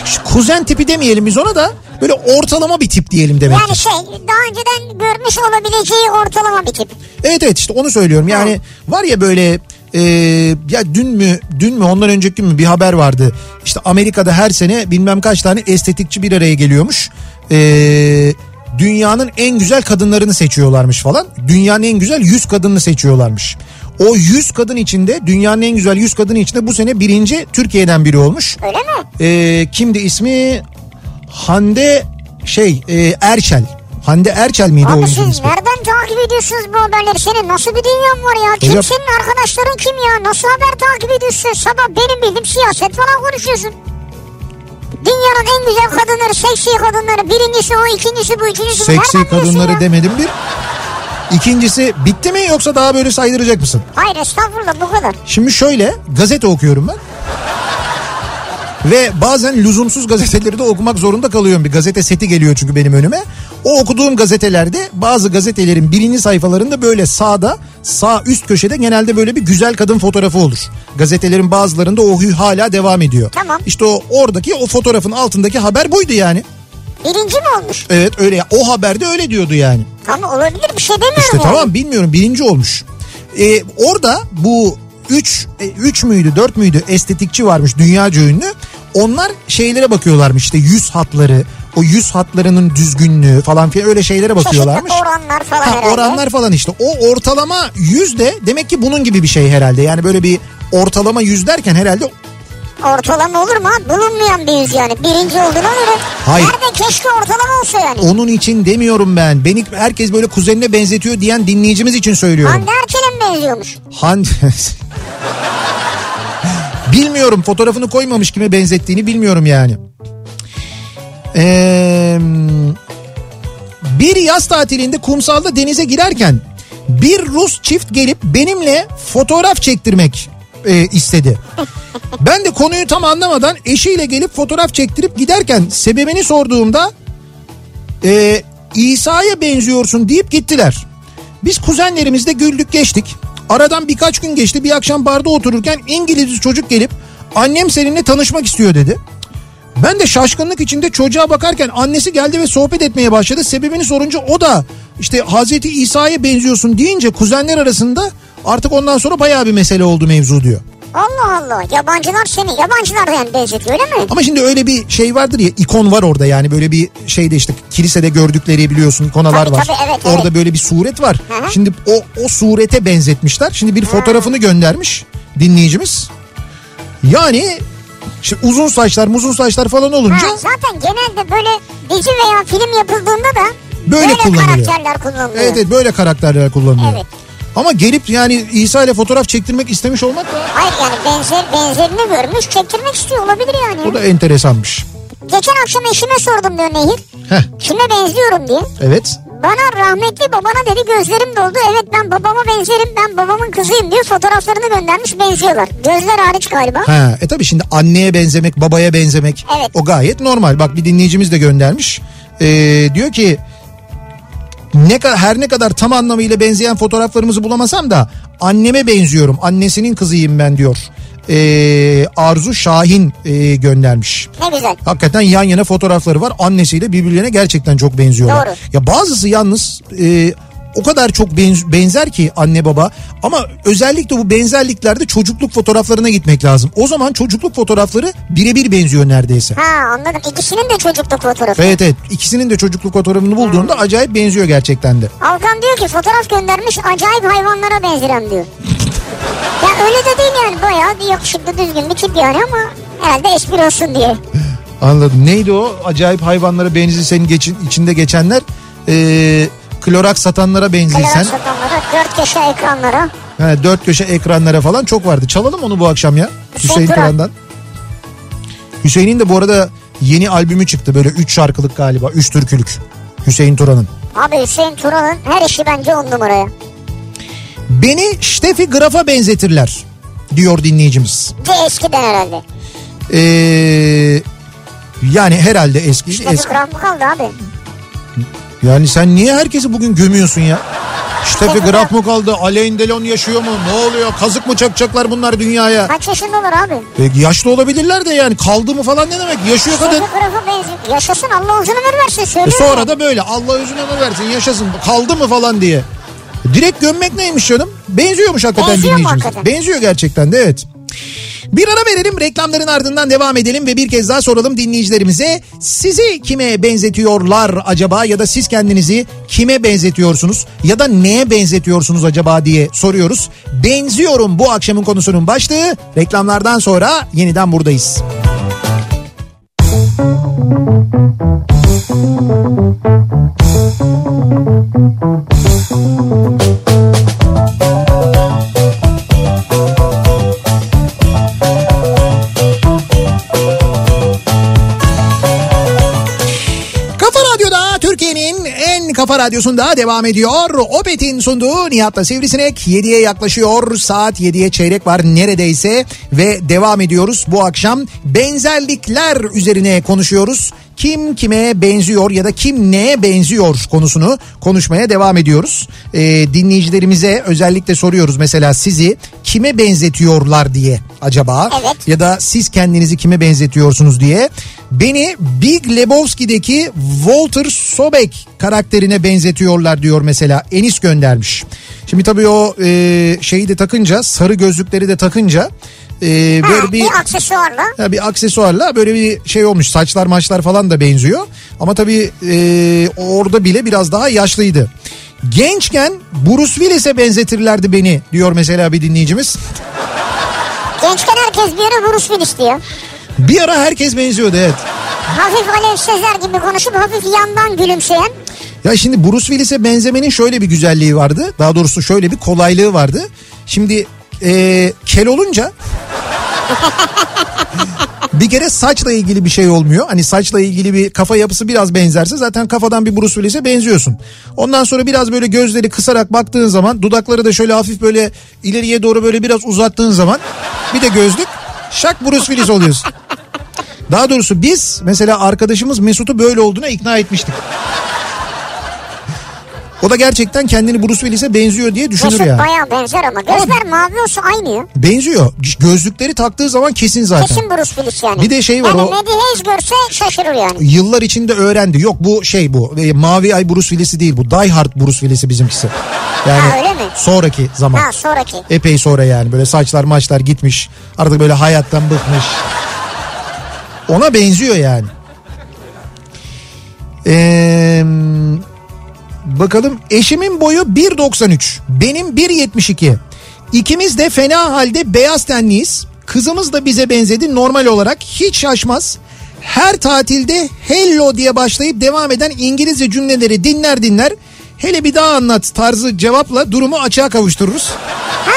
S1: Şu kuzen tipi demeyelim biz ona da böyle ortalama bir tip diyelim demek ki.
S2: Yani şey daha önceden görmüş olabileceği ortalama bir tip.
S1: Evet evet işte onu söylüyorum. Yani var ya böyle e, ya dün mü dün mü ondan önceki gün mü bir haber vardı. İşte Amerika'da her sene bilmem kaç tane estetikçi bir araya geliyormuş. E, dünyanın en güzel kadınlarını seçiyorlarmış falan. Dünyanın en güzel 100 kadını seçiyorlarmış. O 100 kadın içinde dünyanın en güzel 100 kadını içinde bu sene birinci Türkiye'den biri olmuş.
S2: Öyle mi?
S1: E, kimdi ismi? Hande şey e, Erçel. Hande Erçel miydi o
S2: Abi
S1: yüzden
S2: siz
S1: ismi?
S2: nereden takip ediyorsunuz bu haberleri? Senin nasıl bir dünyan var ya? Kim
S1: Hocam-
S2: senin arkadaşların kim ya? Nasıl haber takip ediyorsun? Sabah benim bildiğim siyaset falan konuşuyorsun. Dünyanın en güzel kadınları, seksi kadınları. Birincisi o, ikincisi bu, ikincisi bu.
S1: Seksi
S2: Nereden biliyorsun
S1: kadınları
S2: ya?
S1: demedim bir. İkincisi bitti mi yoksa daha böyle saydıracak mısın?
S2: Hayır estağfurullah bu kadar.
S1: Şimdi şöyle gazete okuyorum ben. Ve bazen lüzumsuz gazeteleri de okumak zorunda kalıyorum. Bir gazete seti geliyor çünkü benim önüme. O okuduğum gazetelerde bazı gazetelerin birinci sayfalarında böyle sağda sağ üst köşede genelde böyle bir güzel kadın fotoğrafı olur. Gazetelerin bazılarında o huy hala devam ediyor.
S2: Tamam.
S1: İşte o oradaki o fotoğrafın altındaki haber buydu yani.
S2: Birinci mi olmuş?
S1: Evet öyle ya. o haberde öyle diyordu yani.
S2: Tamam olabilir bir şey demiyorum.
S1: İşte
S2: yani.
S1: tamam bilmiyorum birinci olmuş. Ee, orada bu 3 3 müydü 4 müydü estetikçi varmış dünyaca ünlü. Onlar şeylere bakıyorlarmış işte yüz hatları o yüz hatlarının düzgünlüğü falan filan öyle şeylere bakıyorlarmış.
S2: Çeşitli oranlar falan
S1: Ha,
S2: herhalde.
S1: oranlar falan işte o ortalama yüz de demek ki bunun gibi bir şey herhalde yani böyle bir ortalama yüz derken herhalde
S2: Ortalama olur mu? abi? Bulunmayan bir yüz yani. Birinci olduğuna göre.
S1: Hayır.
S2: Nerede keşke ortalama olsa yani.
S1: onun için demiyorum ben. Beni herkes böyle kuzenine benzetiyor diyen dinleyicimiz için söylüyorum.
S2: Hande Erçel'e mi benziyormuş?
S1: Hande... bilmiyorum fotoğrafını koymamış kime benzettiğini bilmiyorum yani. Ee, bir yaz tatilinde kumsalda denize girerken bir Rus çift gelip benimle fotoğraf çektirmek e, istedi. Ben de konuyu tam anlamadan eşiyle gelip fotoğraf çektirip giderken sebebini sorduğumda e, İsa'ya benziyorsun deyip gittiler. Biz kuzenlerimizle güldük geçtik. Aradan birkaç gün geçti bir akşam barda otururken İngiliz bir çocuk gelip annem seninle tanışmak istiyor dedi. Ben de şaşkınlık içinde çocuğa bakarken annesi geldi ve sohbet etmeye başladı. Sebebini sorunca o da işte Hazreti İsa'ya benziyorsun deyince kuzenler arasında artık ondan sonra bayağı bir mesele oldu mevzu diyor.
S2: Allah Allah. Yabancılar seni. Yabancılar da yani benzetiyor öyle mi?
S1: Ama şimdi öyle bir şey vardır ya ikon var orada yani böyle bir şeyde işte kilisede gördükleri biliyorsun ikonalar
S2: Tabii,
S1: var.
S2: tabii, evet,
S1: orada
S2: evet.
S1: böyle bir suret var.
S2: Hı hı.
S1: Şimdi o o surete benzetmişler. Şimdi bir fotoğrafını göndermiş dinleyicimiz. Yani şimdi uzun saçlar, muzun saçlar falan olunca
S2: Ha, zaten genelde böyle dizi veya film yapıldığında da
S1: Böyle kullanılıyor.
S2: karakterler kullanılıyor.
S1: evet, evet böyle karakterler kullanılıyor.
S2: Evet.
S1: Ama gelip yani İsa ile fotoğraf çektirmek istemiş olmak da
S2: Hayır yani benzer benzerini görmüş çektirmek istiyor olabilir yani.
S1: o da enteresanmış.
S2: Geçen akşam eşime sordum diyor Nehir.
S1: Heh,
S2: Kime benziyorum diye.
S1: evet.
S2: Bana rahmetli babana dedi gözlerim doldu. Evet ben babama benzerim ben babamın kızıyım diyor. Fotoğraflarını göndermiş benziyorlar. Gözler hariç galiba.
S1: Ha, e tabii şimdi anneye benzemek, babaya benzemek
S2: Evet.
S1: o gayet normal. Bak bir dinleyicimiz de göndermiş. Ee, diyor ki ne kadar her ne kadar tam anlamıyla benzeyen fotoğraflarımızı bulamasam da anneme benziyorum. Annesinin kızıyım ben diyor. Ee, Arzu Şahin e, göndermiş.
S2: Ne güzel.
S1: Hakikaten yan yana fotoğrafları var. Annesiyle birbirlerine gerçekten çok benziyorlar.
S2: Doğru.
S1: Ya bazısı yalnız e, o kadar çok benz- benzer ki anne baba ama özellikle bu benzerliklerde çocukluk fotoğraflarına gitmek lazım. O zaman çocukluk fotoğrafları birebir benziyor neredeyse.
S2: Ha anladım. İkisinin de çocukluk fotoğrafı.
S1: Evet evet ikisinin de çocukluk fotoğrafını bulduğunda acayip benziyor gerçekten de.
S2: Alkan diyor ki fotoğraf göndermiş acayip hayvanlara benzerim diyor. ya öyle de değil yani bayağı bir yakışıklı düzgün bir tip yani ama herhalde espri olsun diye.
S1: Anladım. Neydi o? Acayip hayvanlara benzesenin geçin, içinde geçenler e, klorak satanlara benzeyen
S2: Televizyon satanlara, dört köşe ekranlara.
S1: He, dört köşe ekranlara falan çok vardı. Çalalım onu bu akşam ya. Hüseyin
S2: Turan.
S1: Turan'dan. Hüseyin'in de bu arada yeni albümü çıktı böyle üç şarkılık galiba. Üç türkülük. Hüseyin Turan'ın.
S2: Abi Hüseyin Tural'ın her işi bence on numaraya.
S1: Beni Steffi Graf'a benzetirler diyor dinleyicimiz.
S2: De eskiden herhalde.
S1: Ee, yani herhalde eski.
S2: Eski.
S1: eski.
S2: Kral mı kaldı abi?
S1: Yani sen niye herkesi bugün gömüyorsun ya? Steffi
S2: Steffi
S1: Graf mı kaldı? Alain Delon yaşıyor mu? Ne oluyor? Kazık mı çakacaklar bunlar dünyaya?
S2: Kaç yaşında olur abi?
S1: E, yaşlı olabilirler de yani kaldı mı falan ne demek? Yaşıyor kadın.
S2: Çocuk grafa benziyor. Yaşasın Allah uzun ömür versin
S1: E
S2: söylüyorum.
S1: sonra da böyle Allah yüzüne ömür versin yaşasın kaldı mı falan diye. Direkt gömmek neymiş canım? Benziyormuş hakikaten
S2: Benziyor mu
S1: dinleyicimiz.
S2: hakikaten?
S1: Benziyor gerçekten de evet. Bir ara verelim reklamların ardından devam edelim ve bir kez daha soralım dinleyicilerimize. Sizi kime benzetiyorlar acaba ya da siz kendinizi kime benzetiyorsunuz ya da neye benzetiyorsunuz acaba diye soruyoruz. Benziyorum bu akşamın konusunun başlığı. Reklamlardan sonra yeniden buradayız. Kafa Radyo'da Türkiye'nin en kafa radyosunda devam ediyor. Opet'in sunduğu Nihat'la Sivrisinek 7'ye yaklaşıyor. Saat 7'ye çeyrek var neredeyse ve devam ediyoruz. Bu akşam benzerlikler üzerine konuşuyoruz. Kim kime benziyor ya da kim neye benziyor konusunu konuşmaya devam ediyoruz. Ee, dinleyicilerimize özellikle soruyoruz mesela sizi kime benzetiyorlar diye acaba?
S2: Evet.
S1: ya da siz kendinizi kime benzetiyorsunuz diye. Beni Big Lebowski'deki Walter Sobek karakterine benzetiyorlar diyor mesela Enis göndermiş. Şimdi tabii o e, şeyi de takınca sarı gözlükleri de takınca e,
S2: Ha,
S1: böyle
S2: bir...
S1: bir
S2: aksesuarla.
S1: ya bir aksesuarla böyle bir şey olmuş saçlar maçlar falan da benziyor. Ama tabii e, orada bile biraz daha yaşlıydı. Gençken Bruce Willis'e benzetirlerdi beni diyor mesela bir dinleyicimiz.
S2: Gençken herkes bir ara Bruce Willis diyor.
S1: Bir ara herkes benziyordu evet.
S2: Hafif Alev Sezer gibi konuşup hafif yandan gülümseyen.
S1: Ya şimdi Bruce Willis'e benzemenin şöyle bir güzelliği vardı. Daha doğrusu şöyle bir kolaylığı vardı. Şimdi eee, kel olunca bir kere saçla ilgili bir şey olmuyor. Hani saçla ilgili bir kafa yapısı biraz benzerse zaten kafadan bir Bruce Willis'e benziyorsun. Ondan sonra biraz böyle gözleri kısarak baktığın zaman dudakları da şöyle hafif böyle ileriye doğru böyle biraz uzattığın zaman bir de gözlük şak Bruce Willis oluyorsun. Daha doğrusu biz mesela arkadaşımız Mesut'u böyle olduğuna ikna etmiştik. O da gerçekten kendini Bruce Willis'e benziyor diye düşünür
S2: Mesut
S1: yani.
S2: bayağı benzer ama. Gözler mavi olsa aynı ya.
S1: Benziyor. Gözlükleri taktığı zaman kesin zaten.
S2: Kesin Bruce Willis yani.
S1: Bir de şey var
S2: yani
S1: o-
S2: Maddie Hayes görse şaşırır yani.
S1: yıllar içinde öğrendi. Yok bu şey bu. E, Mavi Ay Bruce Willis'i değil bu. Die Hard Bruce Willis'i bizimkisi. Yani
S2: Ha, öyle mi?
S1: sonraki zaman.
S2: Ha sonraki.
S1: Epey sonra yani böyle saçlar maçlar gitmiş. Artık böyle hayattan bıkmış. Ona benziyor yani. Ee, bakalım eşimin boyu 1.93 benim 1.72 İkimiz de fena halde beyaz tenliyiz kızımız da bize benzedi normal olarak hiç şaşmaz her tatilde hello diye başlayıp devam eden İngilizce cümleleri dinler dinler hele bir daha anlat tarzı cevapla durumu açığa kavuştururuz.
S2: Ha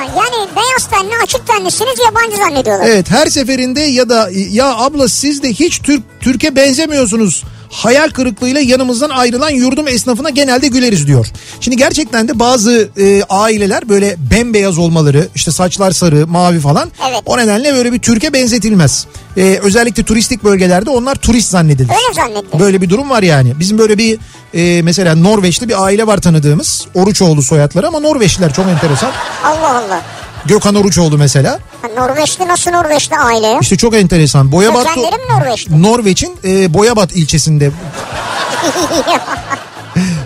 S2: yani beyaz beyaz tenli açık tenlisiniz yabancı zannediyorlar.
S1: Evet her seferinde ya da ya abla siz de hiç Türk Türkiye benzemiyorsunuz. Hayal kırıklığıyla yanımızdan ayrılan yurdum esnafına genelde güleriz diyor. Şimdi gerçekten de bazı e, aileler böyle bembeyaz olmaları işte saçlar sarı mavi falan
S2: Evet.
S1: o nedenle böyle bir Türkiye benzetilmez. E, özellikle turistik bölgelerde onlar turist zannedilir.
S2: Öyle zannedilir.
S1: Böyle bir durum var yani. Bizim böyle bir e, mesela Norveçli bir aile var tanıdığımız. Oruçoğlu soyadları ama Norveçliler çok enteresan.
S2: Allah Allah.
S1: Gökhan Oruçoğlu mesela.
S2: Ha, Norveçli nasıl Norveçli aile ya?
S1: İşte çok enteresan. Boyabat
S2: Kökenleri mi Norveç'te?
S1: Norveç'in e, Boyabat ilçesinde.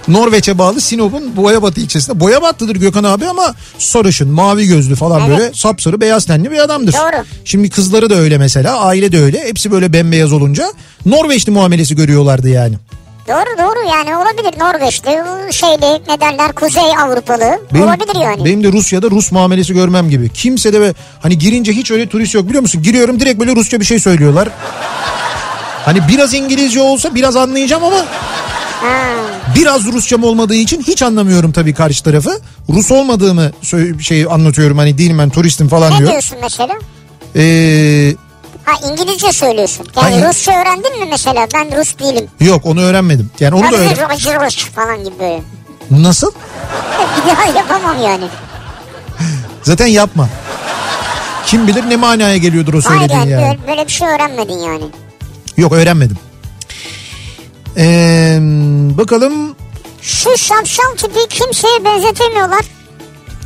S1: Norveç'e bağlı Sinop'un Boyabat ilçesinde. Boyabatlıdır Gökhan abi ama sarışın, mavi gözlü falan
S2: Evet.
S1: böyle sapsarı beyaz tenli bir adamdır.
S2: Doğru.
S1: Şimdi kızları da öyle mesela, aile de öyle. Hepsi böyle bembeyaz olunca Norveçli muamelesi görüyorlardı yani.
S2: doğru doğru yani olabilir Norveçli şeyli ne derler Kuzey Avrupalı olabilir yani.
S1: Benim de Rusya'da Rus muamelesi görmem gibi. Kimse de be- hani girince hiç öyle turist yok biliyor musun? Giriyorum direkt böyle Rusça bir şey söylüyorlar. Hani biraz İngilizce olsa biraz anlayacağım ama
S2: Ha,
S1: biraz Rusçam olmadığı için hiç anlamıyorum tabii karşı tarafı. Rus olmadığımı sö- şey anlatıyorum hani değilim ben turistim
S2: ne
S1: falan diyor.
S2: diyorsun mesela?
S1: Ee,
S2: Ha İngilizce söylüyorsun. Yani
S1: Hayır.
S2: Rusça öğrendin mi mesela? Ben Rus değilim.
S1: yok onu öğrenmedim. Yani onu
S2: Ben
S1: da
S2: de
S1: öğren.
S2: Rus- Rus falan gibi böyle.
S1: Nasıl?
S2: Bir daha yapamam yani.
S1: Zaten yapma. Kim bilir ne manaya geliyordur o
S2: Hayır
S1: söylediğin
S2: yani
S1: yani.
S2: böyle- böyle bir şey öğrenmedin yani.
S1: Yok öğrenmedim. Ee, bakalım
S2: Şu şapşal tipi kimseye benzetemiyorlar.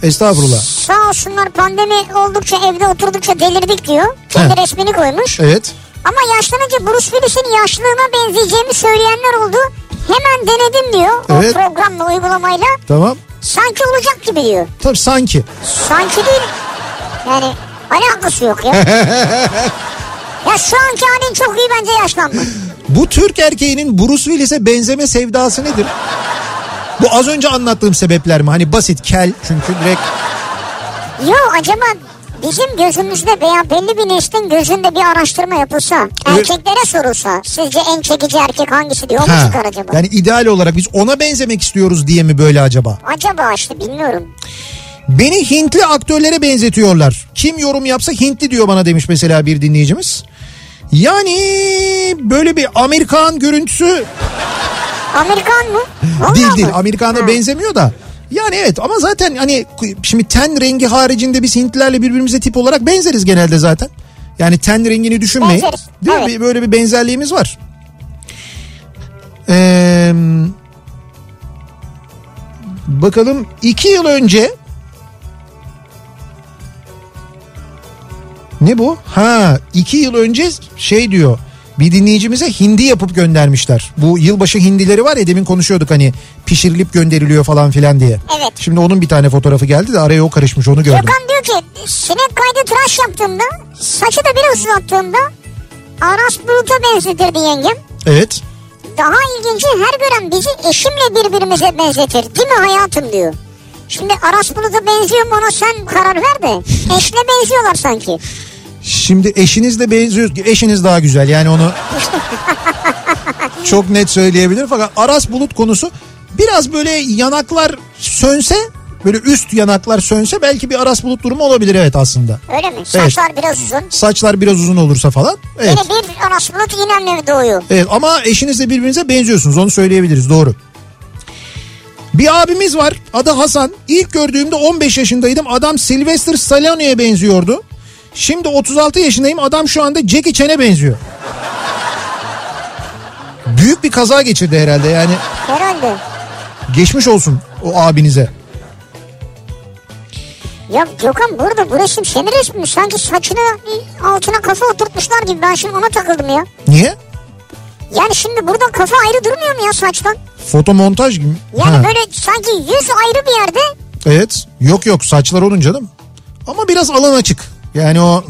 S1: Estağfurullah.
S2: Sağ olsunlar pandemi oldukça evde oturdukça delirdik diyor. Kendi
S1: He.
S2: resmini koymuş.
S1: Evet.
S2: Ama yaşlanınca Bruce Willis'in yaşlılığına benzeyeceğimi söyleyenler oldu. Hemen denedim diyor
S1: Evet.
S2: o programla uygulamayla.
S1: Tamam.
S2: Sanki olacak gibi diyor.
S1: Tabii sanki.
S2: Sanki değil. Yani alakası yok ya. ya şu anki halin çok iyi bence yaşlanma.
S1: Bu Türk erkeğinin Bruce Willis'e benzeme sevdası nedir? Bu az önce anlattığım sebepler mi? Hani basit kel çünkü direkt
S2: Yo acaba bizim gözümüzde veya belli bir neslin gözünde bir araştırma yapılsa, erkeklere sorulsa, sizce en çekici erkek hangisi diyor mu
S1: Ha.
S2: çıkar acaba?
S1: Yani ideal olarak biz ona benzemek istiyoruz diye mi böyle acaba?
S2: Acaba işte bilmiyorum.
S1: Beni Hintli aktörlere benzetiyorlar. Kim yorum yapsa Hintli diyor bana demiş mesela bir dinleyicimiz. Yani böyle bir Amerikan görüntüsü
S2: Amerikan mı? Vallahi
S1: değil değil.
S2: mı?
S1: Amerikan'a
S2: Ha.
S1: benzemiyor da. Yani evet ama zaten hani şimdi ten rengi haricinde biz Hintlilerle birbirimize tip olarak benzeriz genelde zaten. Yani ten rengini düşünmeyin.
S2: Benzeriz,
S1: Değil mi?
S2: evet.
S1: Bir- Böyle bir benzerliğimiz var. Ee, bakalım iki yıl önce Ne bu? Ha iki yıl önce şey diyor bir dinleyicimize hindi yapıp göndermişler. Bu yılbaşı hindileri var ya demin konuşuyorduk hani pişirilip gönderiliyor falan filan diye.
S2: Evet.
S1: Şimdi onun bir tane fotoğrafı geldi de araya o karışmış onu gördüm.
S2: Gökhan diyor ki sinek kaydı tıraş yaptığımda saçı da biraz uzattığımda Aras Bulut'a benzetirdi yengem.
S1: Evet.
S2: Daha ilginci her gören bizi eşimle birbirimize benzetir değil mi hayatım diyor. Şimdi Aras Bulut'a benziyor mu ona sen karar ver de eşle benziyorlar sanki.
S1: Şimdi eşinizle benziyor. Eşiniz daha güzel yani onu çok net söyleyebilir. Fakat Aras Bulut konusu biraz böyle yanaklar sönse böyle üst yanaklar sönse belki bir Aras Bulut durumu olabilir evet aslında.
S2: Öyle mi? Saçlar biraz uzun.
S1: Saçlar biraz uzun olursa falan. Evet.
S2: Yine bir Aras Bulut yine mi doğuyor?
S1: Evet ama eşinizle birbirinize benziyorsunuz onu söyleyebiliriz doğru. Bir abimiz var adı Hasan. İlk gördüğümde 15 yaşındaydım. Adam Sylvester Stallone'ye benziyordu. Şimdi 36 yaşındayım. Adam şu anda Jackie Chan'e benziyor. Büyük bir kaza geçirdi herhalde yani.
S2: Herhalde.
S1: Geçmiş olsun o abinize.
S2: Ya Gökhan burada bu resim senin resmin mi? sanki saçını altına kafa oturtmuşlar gibi ben şimdi ona takıldım ya.
S1: Niye?
S2: Yani şimdi burada kafa ayrı durmuyor mu ya saçtan?
S1: Fotomontaj gibi.
S2: Yani
S1: Ha,
S2: böyle sanki yüz ayrı bir yerde
S1: Evet. Yok yok saçlar olunca canım. Ama biraz alan açık. Yani o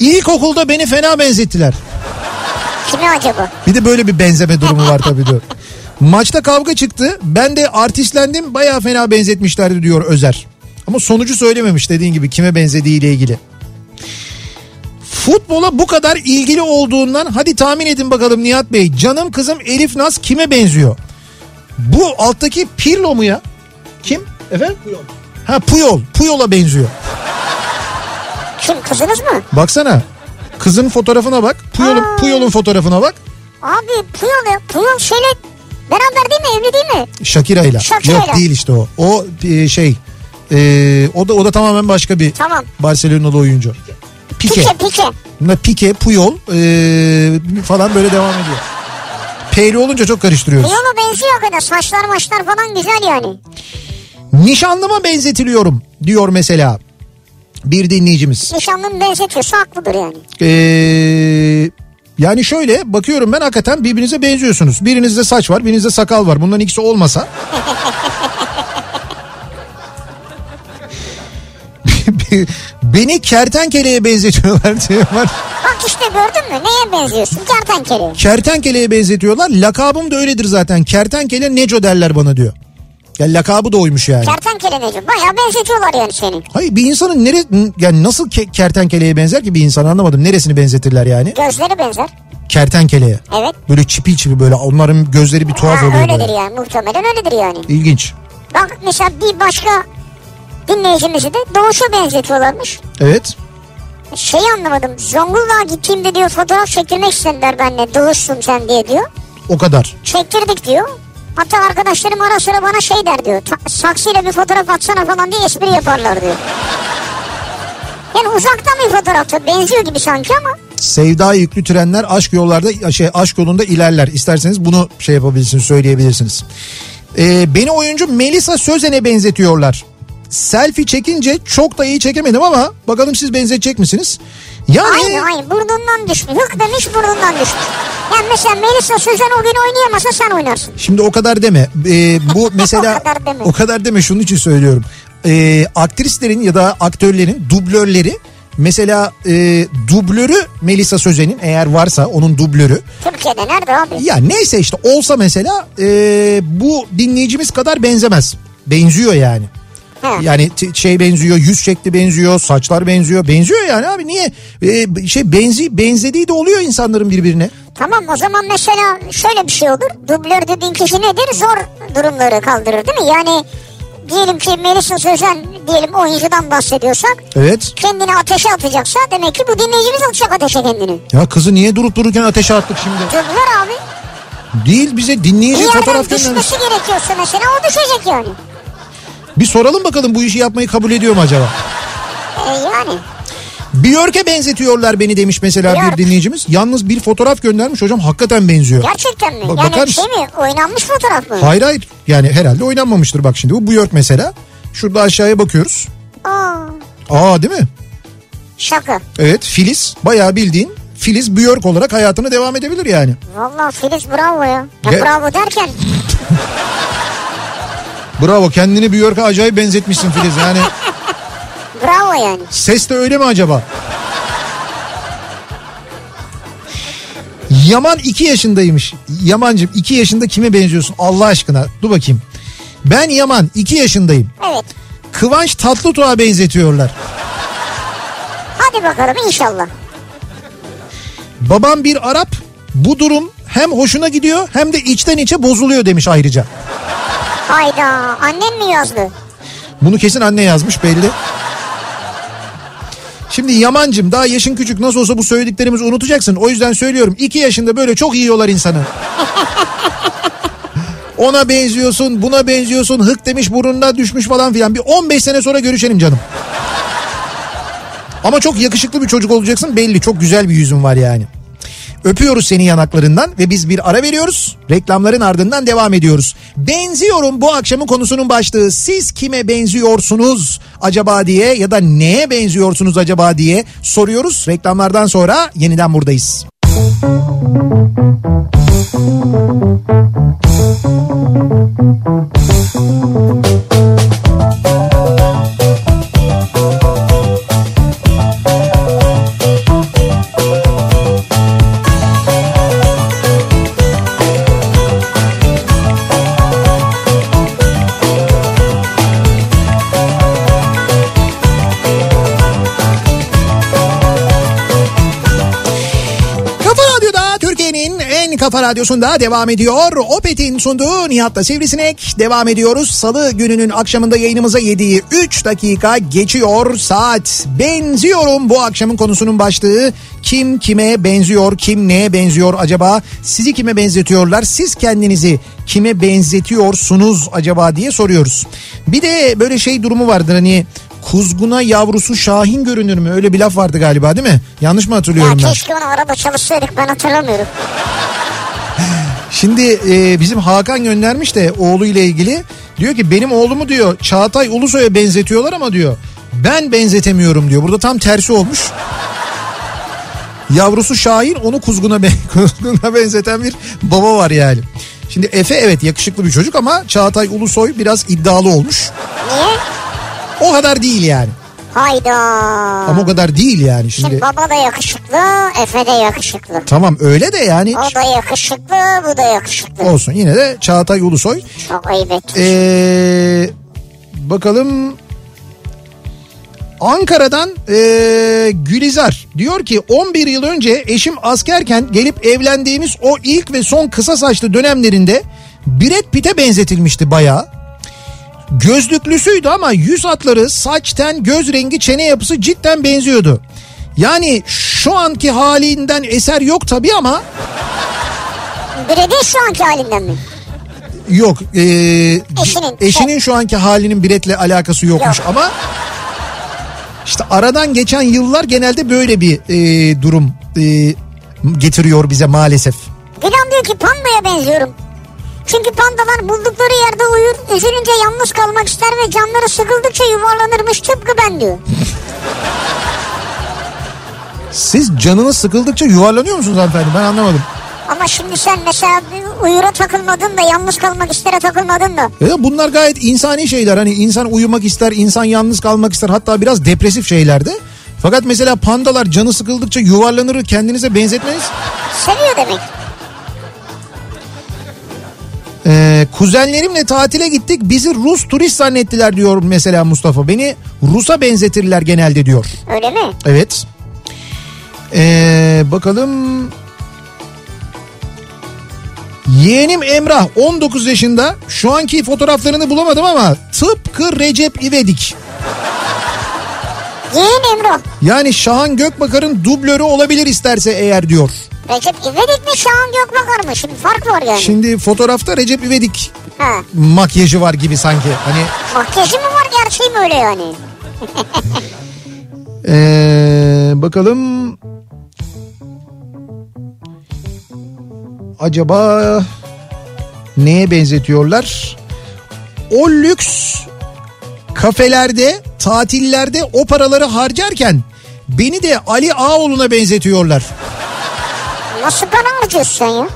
S1: İlkokulda beni fena benzettiler.
S2: kime acaba?
S1: Bir de böyle bir benzeme durumu var tabii diyor. Maçta kavga çıktı. Ben de artistlendim. Bayağı fena benzetmişlerdi diyor Özer. Ama sonucu söylememiş dediğin gibi kime benzediği ile ilgili. Futbola bu kadar ilgili olduğundan hadi tahmin edin bakalım Nihat Bey. Canım kızım Elif Naz kime benziyor? Bu alttaki Pirlo mu ya? Kim? Efendim? Puyol. Ha Puyol. Puyol'a benziyor.
S2: Kim kızınız mı?
S1: Baksana. Kızın fotoğrafına bak. Puyol'un
S2: Aa.
S1: Puyol'un fotoğrafına bak.
S2: Abi Puyol ya. Puyol şeyle beraber değil mi? Evli değil mi?
S1: Shakira'yla.
S2: Shakira'yla.
S1: Yok değil işte o. O e, şey. e, o da o da tamamen başka bir
S2: Tamam.
S1: Barcelona'lı oyuncu. Pique.
S2: Pike pike.
S1: Bunda Pique, Puyol e, falan böyle devam ediyor. Peyri olunca çok karıştırıyoruz.
S2: Puyol'a benziyor hakikaten. Saçlar maçlar falan güzel yani.
S1: Nişanlıma benzetiliyorum diyor mesela bir dinleyicimiz.
S2: Nişanlını benzetiyorsa haklıdır yani.
S1: Ee, yani şöyle bakıyorum ben hakikaten birbirinize benziyorsunuz. Birinizde saç var, birinizde sakal var. Bunların ikisi olmasa. Beni kertenkeleye benzetiyorlar diyorlar.
S2: Bak işte gördün mü? Neye benziyorsun? Kertenkeleye.
S1: Kertenkeleye benzetiyorlar. Lakabım da öyledir zaten. Kertenkele Neco derler bana diyor. Ya lakabı da oymuş yani.
S2: Kertenkele Necip. Bayağı benzetiyorlar yani seni.
S1: Hayır bir insanın nere yani nasıl ke- kertenkeleye benzer ki bir insan anlamadım. Neresini benzetirler yani?
S2: Gözleri benzer.
S1: Kertenkeleye.
S2: Evet.
S1: Böyle çipil çipil böyle onların gözleri bir tuhaf
S2: Ha,
S1: oluyor
S2: öyledir
S1: böyle.
S2: yani. Muhtemelen öyledir yani.
S1: İlginç.
S2: Bak mesela bir başka dinleyicimizi de Doğuş'a benzetiyorlarmış.
S1: Evet.
S2: Şeyi anlamadım. Zonguldak'a gittiğimde diyor fotoğraf çektirmek istediler benimle. Doğuşsun sen diye diyor.
S1: O kadar.
S2: Çektirdik diyor. Hatta arkadaşlarım ara sıra bana şey der diyor. "Ta- Saksıyla bir fotoğraf atsana falan diye espri yaparlar diyor. Yani uzaktan bir fotoğrafta benziyor gibi sanki ama
S1: Sevda yüklü trenler aşk yollarda şey aşk yolunda ilerler. İsterseniz bunu şey yapabilirsiniz, söyleyebilirsiniz. Ee, beni oyuncu Melisa Sözen'e benzetiyorlar. Selfie çekince çok da iyi çekemedim ama bakalım siz benzetecek misiniz? Yani
S2: aynı aynı burnundan düşmüş. Hık demiş burnundan düşmüş. Yani mesela Melisa Sözen o gün oynayamasa sen oynarsın.
S1: Şimdi o kadar deme. Ee, bu mesela
S2: O kadar deme.
S1: o kadar deme şunun için söylüyorum. Ee, aktrislerin ya da aktörlerin dublörleri mesela e, dublörü Melisa Sözen'in eğer varsa onun dublörü
S2: Türkiye'de nerede abi?
S1: ya neyse işte olsa mesela e, bu dinleyicimiz kadar benzemez. Benziyor yani.
S2: He.
S1: Yani t- şey benziyor, yüz şekli benziyor, saçlar benziyor. Benziyor yani abi niye? Ee, şey benzi benzediği de oluyor insanların birbirine.
S2: Tamam o zaman mesela şöyle bir şey olur. Dublör dediğin kişi nedir? Zor durumları kaldırır değil mi? Yani diyelim ki Melisa Sözen diyelim oyuncudan bahsediyorsak
S1: Evet.
S2: kendini ateşe atacaksa demek ki bu dinleyicimiz atacak ateşe kendini.
S1: Ya kızı niye durup dururken ateşe attık şimdi?
S2: Dublör abi
S1: Değil bize dinleyici
S2: bir
S1: şey fotoğraf
S2: yerden
S1: göndermiş.
S2: düşmesi gerekiyorsa mesela o düşecek yani.
S1: Bir soralım bakalım bu işi yapmayı kabul ediyor mu acaba?
S2: E, yani.
S1: Björk'e benzetiyorlar beni demiş mesela
S2: Björk.
S1: bir dinleyicimiz. Yalnız bir fotoğraf göndermiş hocam hakikaten benziyor.
S2: Gerçekten mi?
S1: Bak-
S2: yani
S1: bakar
S2: şey mi? Oynanmış fotoğraf mı?
S1: Hayır hayır yani herhalde oynanmamıştır bak şimdi bu Björk mesela. Şurada aşağıya bakıyoruz.
S2: Aa,
S1: Aa değil mi?
S2: şaka.
S1: Evet Filiz bayağı bildiğin Filiz Björk olarak hayatına devam edebilir yani.
S2: Vallahi Filiz bravo ya. ya
S1: Ge-
S2: bravo derken
S1: Bravo kendini Björk'e acayip benzetmişsin Filiz yani.
S2: bravo yani.
S1: Ses de öyle mi acaba? Yaman 2 yaşındaymış. Yamancım 2 yaşında kime benziyorsun Allah aşkına? Dur bakayım. Ben Yaman 2 yaşındayım.
S2: Evet.
S1: Kıvanç Tatlıtuğ'a benzetiyorlar.
S2: Hadi bakalım inşallah.
S1: Babam bir Arap. Bu durum hem hoşuna gidiyor hem de içten içe bozuluyor demiş ayrıca.
S2: Hayda annen mi yazdı?
S1: Bunu kesin anne yazmış belli. Şimdi Yamancım daha yaşın küçük nasıl olsa bu söylediklerimizi unutacaksın. O yüzden söylüyorum 2 yaşında böyle çok yiyorlar insanı. Ona benziyorsun buna benziyorsun hık demiş burnuna düşmüş falan filan. Bir 15 sene sonra görüşelim canım. Ama çok yakışıklı bir çocuk olacaksın belli çok güzel bir yüzün var yani. Öpüyoruz seni yanaklarından ve biz bir ara veriyoruz. Reklamların ardından devam ediyoruz. Benziyorum bu akşamın konusunun başlığı. Siz kime benziyorsunuz acaba diye ya da neye benziyorsunuz acaba diye soruyoruz. Reklamlardan sonra yeniden buradayız. Kafa Radyo'da Türkiye'nin en Kafa Radyosu'nda devam ediyor. Opet'in sunduğu Nihat'la Sivrisinek devam ediyoruz. Salı gününün akşamında yayınımıza yediği 3 dakika geçiyor saat. Benziyorum bu akşamın konusunun başlığı. Kim kime benziyor, kim neye benziyor acaba? Sizi kime benzetiyorlar? Siz kendinizi kime benzetiyorsunuz acaba diye soruyoruz. Bir de böyle şey durumu vardır hani kuzguna yavrusu şahin görünür mü? Öyle bir laf vardı galiba değil mi? Yanlış mı hatırlıyorum
S2: Ya
S1: ben?
S2: keşke ona araba çalışsaydık ben hatırlamıyorum.
S1: Şimdi e, bizim Hakan göndermiş de oğluyla ilgili. Diyor ki benim oğlumu diyor Çağatay Ulusoy'a benzetiyorlar ama diyor ben benzetemiyorum diyor. Burada tam tersi olmuş. Yavrusu Şahin onu kuzguna, ben- kuzguna benzeten bir baba var yani. Şimdi Efe evet yakışıklı bir çocuk ama Çağatay Ulusoy biraz iddialı olmuş.
S2: Niye?
S1: O kadar değil yani.
S2: Hayda.
S1: Ama o kadar değil yani
S2: Şimdi
S1: şimdi.
S2: baba da yakışıklı, Efe de yakışıklı.
S1: Tamam öyle de yani
S2: O da yakışıklı, bu da yakışıklı.
S1: olsun yine de Çağatay Ulusoy
S2: Çok ayıp etmiş.
S1: Ee, bakalım Ankara'dan ee, Gülizar diyor ki 11 yıl önce eşim askerken gelip evlendiğimiz o ilk ve son kısa saçlı dönemlerinde Brad Pitt'e benzetilmişti bayağı. Gözlüklüsüydü ama yüz hatları, saç, ten, göz rengi, çene yapısı cidden benziyordu. Yani şu anki halinden eser yok tabii ama
S2: Brady şu anki halinden mi?
S1: Yok. ee,
S2: Eşinin.
S1: eşinin şu anki halinin biletle alakası yokmuş
S2: Yok.
S1: ama işte aradan geçen yıllar genelde böyle bir ee, durum ee, getiriyor bize maalesef.
S2: Dilan diyor ki pandaya benziyorum. Çünkü pandalar buldukları yerde uyur, üzülünce yalnız kalmak ister ve canları sıkıldıkça yuvarlanırmış tıpkı ben diyor.
S1: Siz canınız sıkıldıkça yuvarlanıyor musunuz hanımefendi? Ben anlamadım.
S2: Ama şimdi sen mesela bir uyura takılmadın da yalnız kalmak istere takılmadın da.
S1: Ya E, bunlar gayet insani şeyler. Hani insan uyumak ister, insan yalnız kalmak ister. Hatta biraz depresif şeylerdi. Fakat mesela pandalar canı sıkıldıkça yuvarlanır kendinize benzetmeniz
S2: Seviyor demek.
S1: Ee, kuzenlerimle tatile gittik. Bizi Rus turist zannettiler diyor mesela Mustafa. Beni Rus'a benzetirler genelde diyor.
S2: Öyle mi?
S1: Evet. Ee, bakalım. Yeğenim Emrah 19 yaşında. Şu anki fotoğraflarını bulamadım ama tıpkı Recep İvedik.
S2: Yeğen Emre.
S1: Yani Şahan Gökbakar'ın dublörü olabilir isterse eğer diyor.
S2: Recep İvedik mi Şahan Gökbakar mı? Şimdi fark var yani.
S1: Şimdi fotoğrafta Recep İvedik
S2: Ha.
S1: makyajı var gibi sanki. Hani
S2: Makyajı mı var gerçeği mi öyle yani?
S1: Ee, bakalım. Acaba neye benzetiyorlar? O lüks kafelerde, tatillerde o paraları harcarken beni de Ali Ağoğlu'na benzetiyorlar.
S2: Nasıl para harcıyorsun sen ya?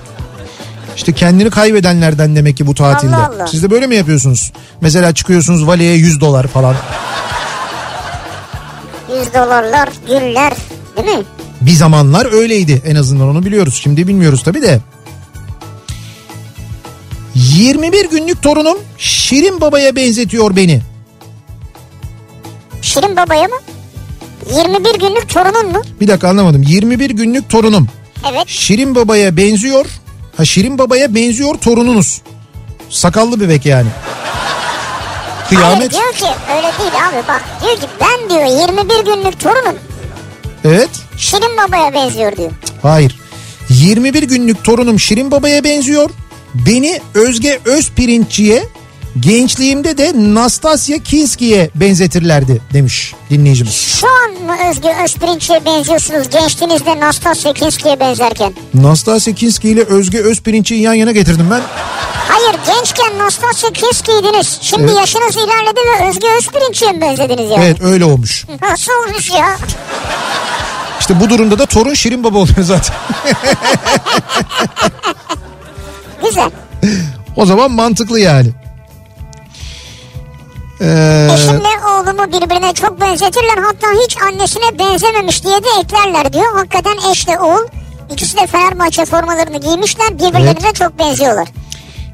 S1: İşte kendini kaybedenlerden demek ki bu tatilde.
S2: Allah Allah.
S1: Siz de böyle mi yapıyorsunuz? Mesela çıkıyorsunuz valiye 100 dolar falan.
S2: 100 dolarlar, güller değil mi?
S1: Bir zamanlar öyleydi en azından onu biliyoruz. Şimdi bilmiyoruz tabii de. 21 günlük torunum Şirin Baba'ya benzetiyor beni.
S2: Şirin Baba'ya mı? 21 günlük torunun mu?
S1: Bir dakika anlamadım. 21 günlük torunum
S2: Evet.
S1: Şirin Baba'ya benziyor. Ha Şirin Baba'ya benziyor torununuz. Sakallı bebek yani.
S2: Hayır
S1: Kıyamet.
S2: diyor ki öyle değil abi bak. Diyor ki ben diyor 21 günlük torunum
S1: Evet.
S2: Şirin Baba'ya benziyor diyor.
S1: Hayır. 21 günlük torunum Şirin Baba'ya benziyor. Beni Özge Özpirinççi'ye, gençliğimde de Nastasya Kinski'ye benzetirlerdi demiş dinleyicimiz.
S2: Şu an mı Özgü Özpirinç'e benziyorsunuz gençliğinizde Nastasya Kinski'ye benzerken?
S1: Nastasya Kinski ile Özge Özpirinççi'yi yan yana getirdim ben.
S2: Hayır gençken Nastasya Kinski'ydiniz. Şimdi
S1: Evet.
S2: yaşınız ilerledi ve Özgü Özpirinç'e mi benzediniz yani?
S1: Evet öyle olmuş.
S2: Nasıl olmuş ya?
S1: İşte bu durumda da torun Şirin Baba oluyor zaten.
S2: Güzel.
S1: o zaman mantıklı yani. Ee,
S2: Eşimle oğlumu birbirine çok benzetirler hatta hiç annesine benzememiş diye de eklerler diyor. Hakikaten eşle oğul ikisi de Fenerbahçe formalarını giymişler birbirlerine çok benziyorlar.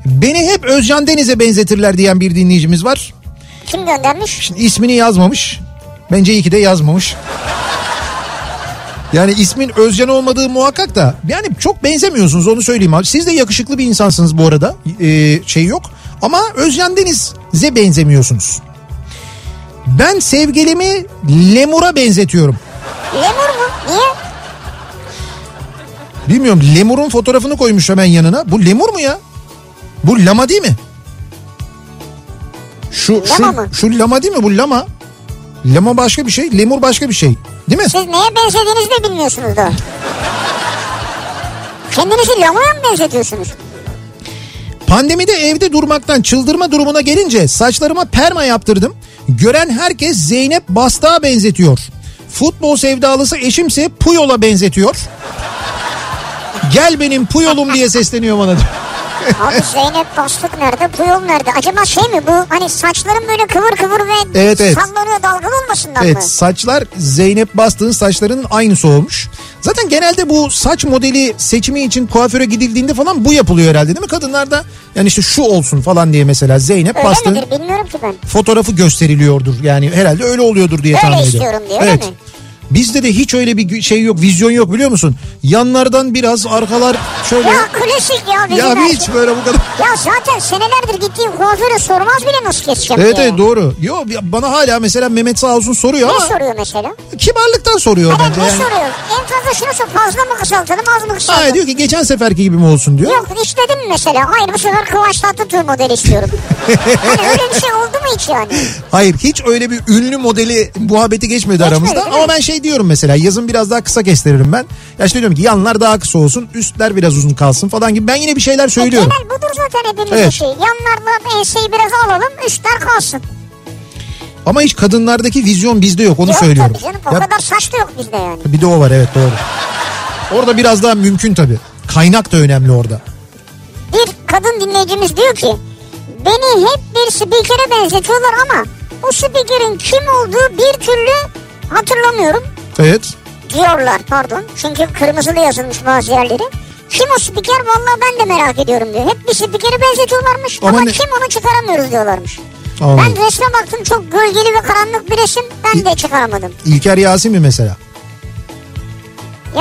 S1: beni hep Özcan Deniz'e benzetirler diyen bir dinleyicimiz var.
S2: Kim göndermiş?
S1: Şimdi ismini yazmamış. Bence iyi ki de yazmamış. Yani ismin Özcan olmadığı muhakkak da yani çok benzemiyorsunuz onu söyleyeyim abi. Siz de yakışıklı bir insansınız bu arada Ee, şey yok ama Özcan Deniz'e benzemiyorsunuz. Ben sevgilimi lemura benzetiyorum.
S2: Lemur mu? Niye?
S1: Bilmiyorum lemurun fotoğrafını koymuş hemen yanına. Bu lemur mu ya? Bu lama değil mi? Şu
S2: Lama
S1: şu
S2: mı?
S1: şu lama değil mi bu lama? Lama başka bir şey, lemur başka bir şey. Değil mi?
S2: Siz neye benzediğinizi de bilmiyorsunuz da. Kendinizi lamaya mı benzetiyorsunuz?
S1: Pandemide evde durmaktan çıldırma durumuna gelince saçlarıma perma yaptırdım. Gören herkes Zeynep Bastık'a benzetiyor. Futbol sevdalısı eşimse Puyol'a benzetiyor. Gel benim Puyol'um diye sesleniyor bana. diyor.
S2: Abi Zeynep Bastık nerede? Bu yol nerede? Acaba şey mi bu hani saçların böyle kıvır kıvır ve
S1: Evet, evet.
S2: sallanıyor dalgalı olmasından mı?
S1: Evet saçlar Zeynep Bastık'ın saçlarının aynısı olmuş. Zaten genelde bu saç modeli seçimi için kuaföre gidildiğinde falan bu yapılıyor herhalde değil mi? Kadınlarda yani işte şu olsun falan diye mesela Zeynep
S2: Öyle
S1: Bastık'ın
S2: midir bilmiyorum ki ben.
S1: fotoğrafı gösteriliyordur. Yani herhalde öyle oluyordur diye
S2: Öyle
S1: tahmin ediyorum.
S2: istiyorum diyor, öyle mi?
S1: Bizde de hiç öyle bir gü- şey yok, vizyon yok biliyor musun? Yanlardan biraz arkalar şöyle.
S2: Ya klasik ya bizim
S1: ya
S2: her
S1: hiç
S2: şey.
S1: böyle bu kadar.
S2: Ya zaten senelerdir gittiğim kuaföre sormaz bile nasıl keseceğim
S1: Evet
S2: diye.
S1: evet doğru. Yo ya bana hala mesela Mehmet sağ olsun soruyor
S2: Ne
S1: ama
S2: soruyor mesela?
S1: kibarlıktan soruyor
S2: Hani
S1: bence.
S2: ne
S1: yani.
S2: soruyor? En fazla şunu sor fazla mı kısaltalım az mı kısaltalım?
S1: Hayır diyor ki geçen seferki gibi mi olsun diyor.
S2: Yok işledim mi mesela? Hayır bu sefer Kıvanç Tatlıtuğ modeli istiyorum. hani öyle bir şey oldu mu hiç yani? E,
S1: Hayır hiç öyle bir ünlü modeli muhabbeti geçmedi aramızda.
S2: değil mi?
S1: Ama ben şey diyorum mesela yazın biraz daha kısa kestiririm ben. Ya işte diyorum ki yanlar daha kısa olsun üstler biraz uzun kalsın falan gibi. Ben yine bir şeyler söylüyorum.
S2: Genel budur zaten hepimizin
S1: Evet.
S2: şey. Yanlardan enseyi biraz alalım üstler kalsın.
S1: Ama hiç kadınlardaki vizyon bizde yok onu
S2: Yok
S1: söylüyorum.
S2: tabii canım o
S1: Ya
S2: kadar saç da yok bizde yani.
S1: Bir de o var evet doğru. Orada biraz daha mümkün tabii. Kaynak da önemli orada.
S2: Bir kadın dinleyicimiz diyor ki beni hep bir spikere benzetiyorlar ama bu spikerin kim olduğu bir türlü hatırlamıyorum
S1: Evet.
S2: diyorlar pardon. Çünkü kırmızılı yazılmış bazı yerleri. Kim o spiker vallahi ben de merak ediyorum diyor. Hep bir spikeri benzetiyorlarmış
S1: Ama
S2: ama,
S1: ne-
S2: kim onu çıkaramıyoruz diyorlarmış.
S1: Anladım.
S2: Ben resme baktım çok gölgeli ve karanlık bir resim ben de çıkaramadım.
S1: İlker Yasin mi mesela?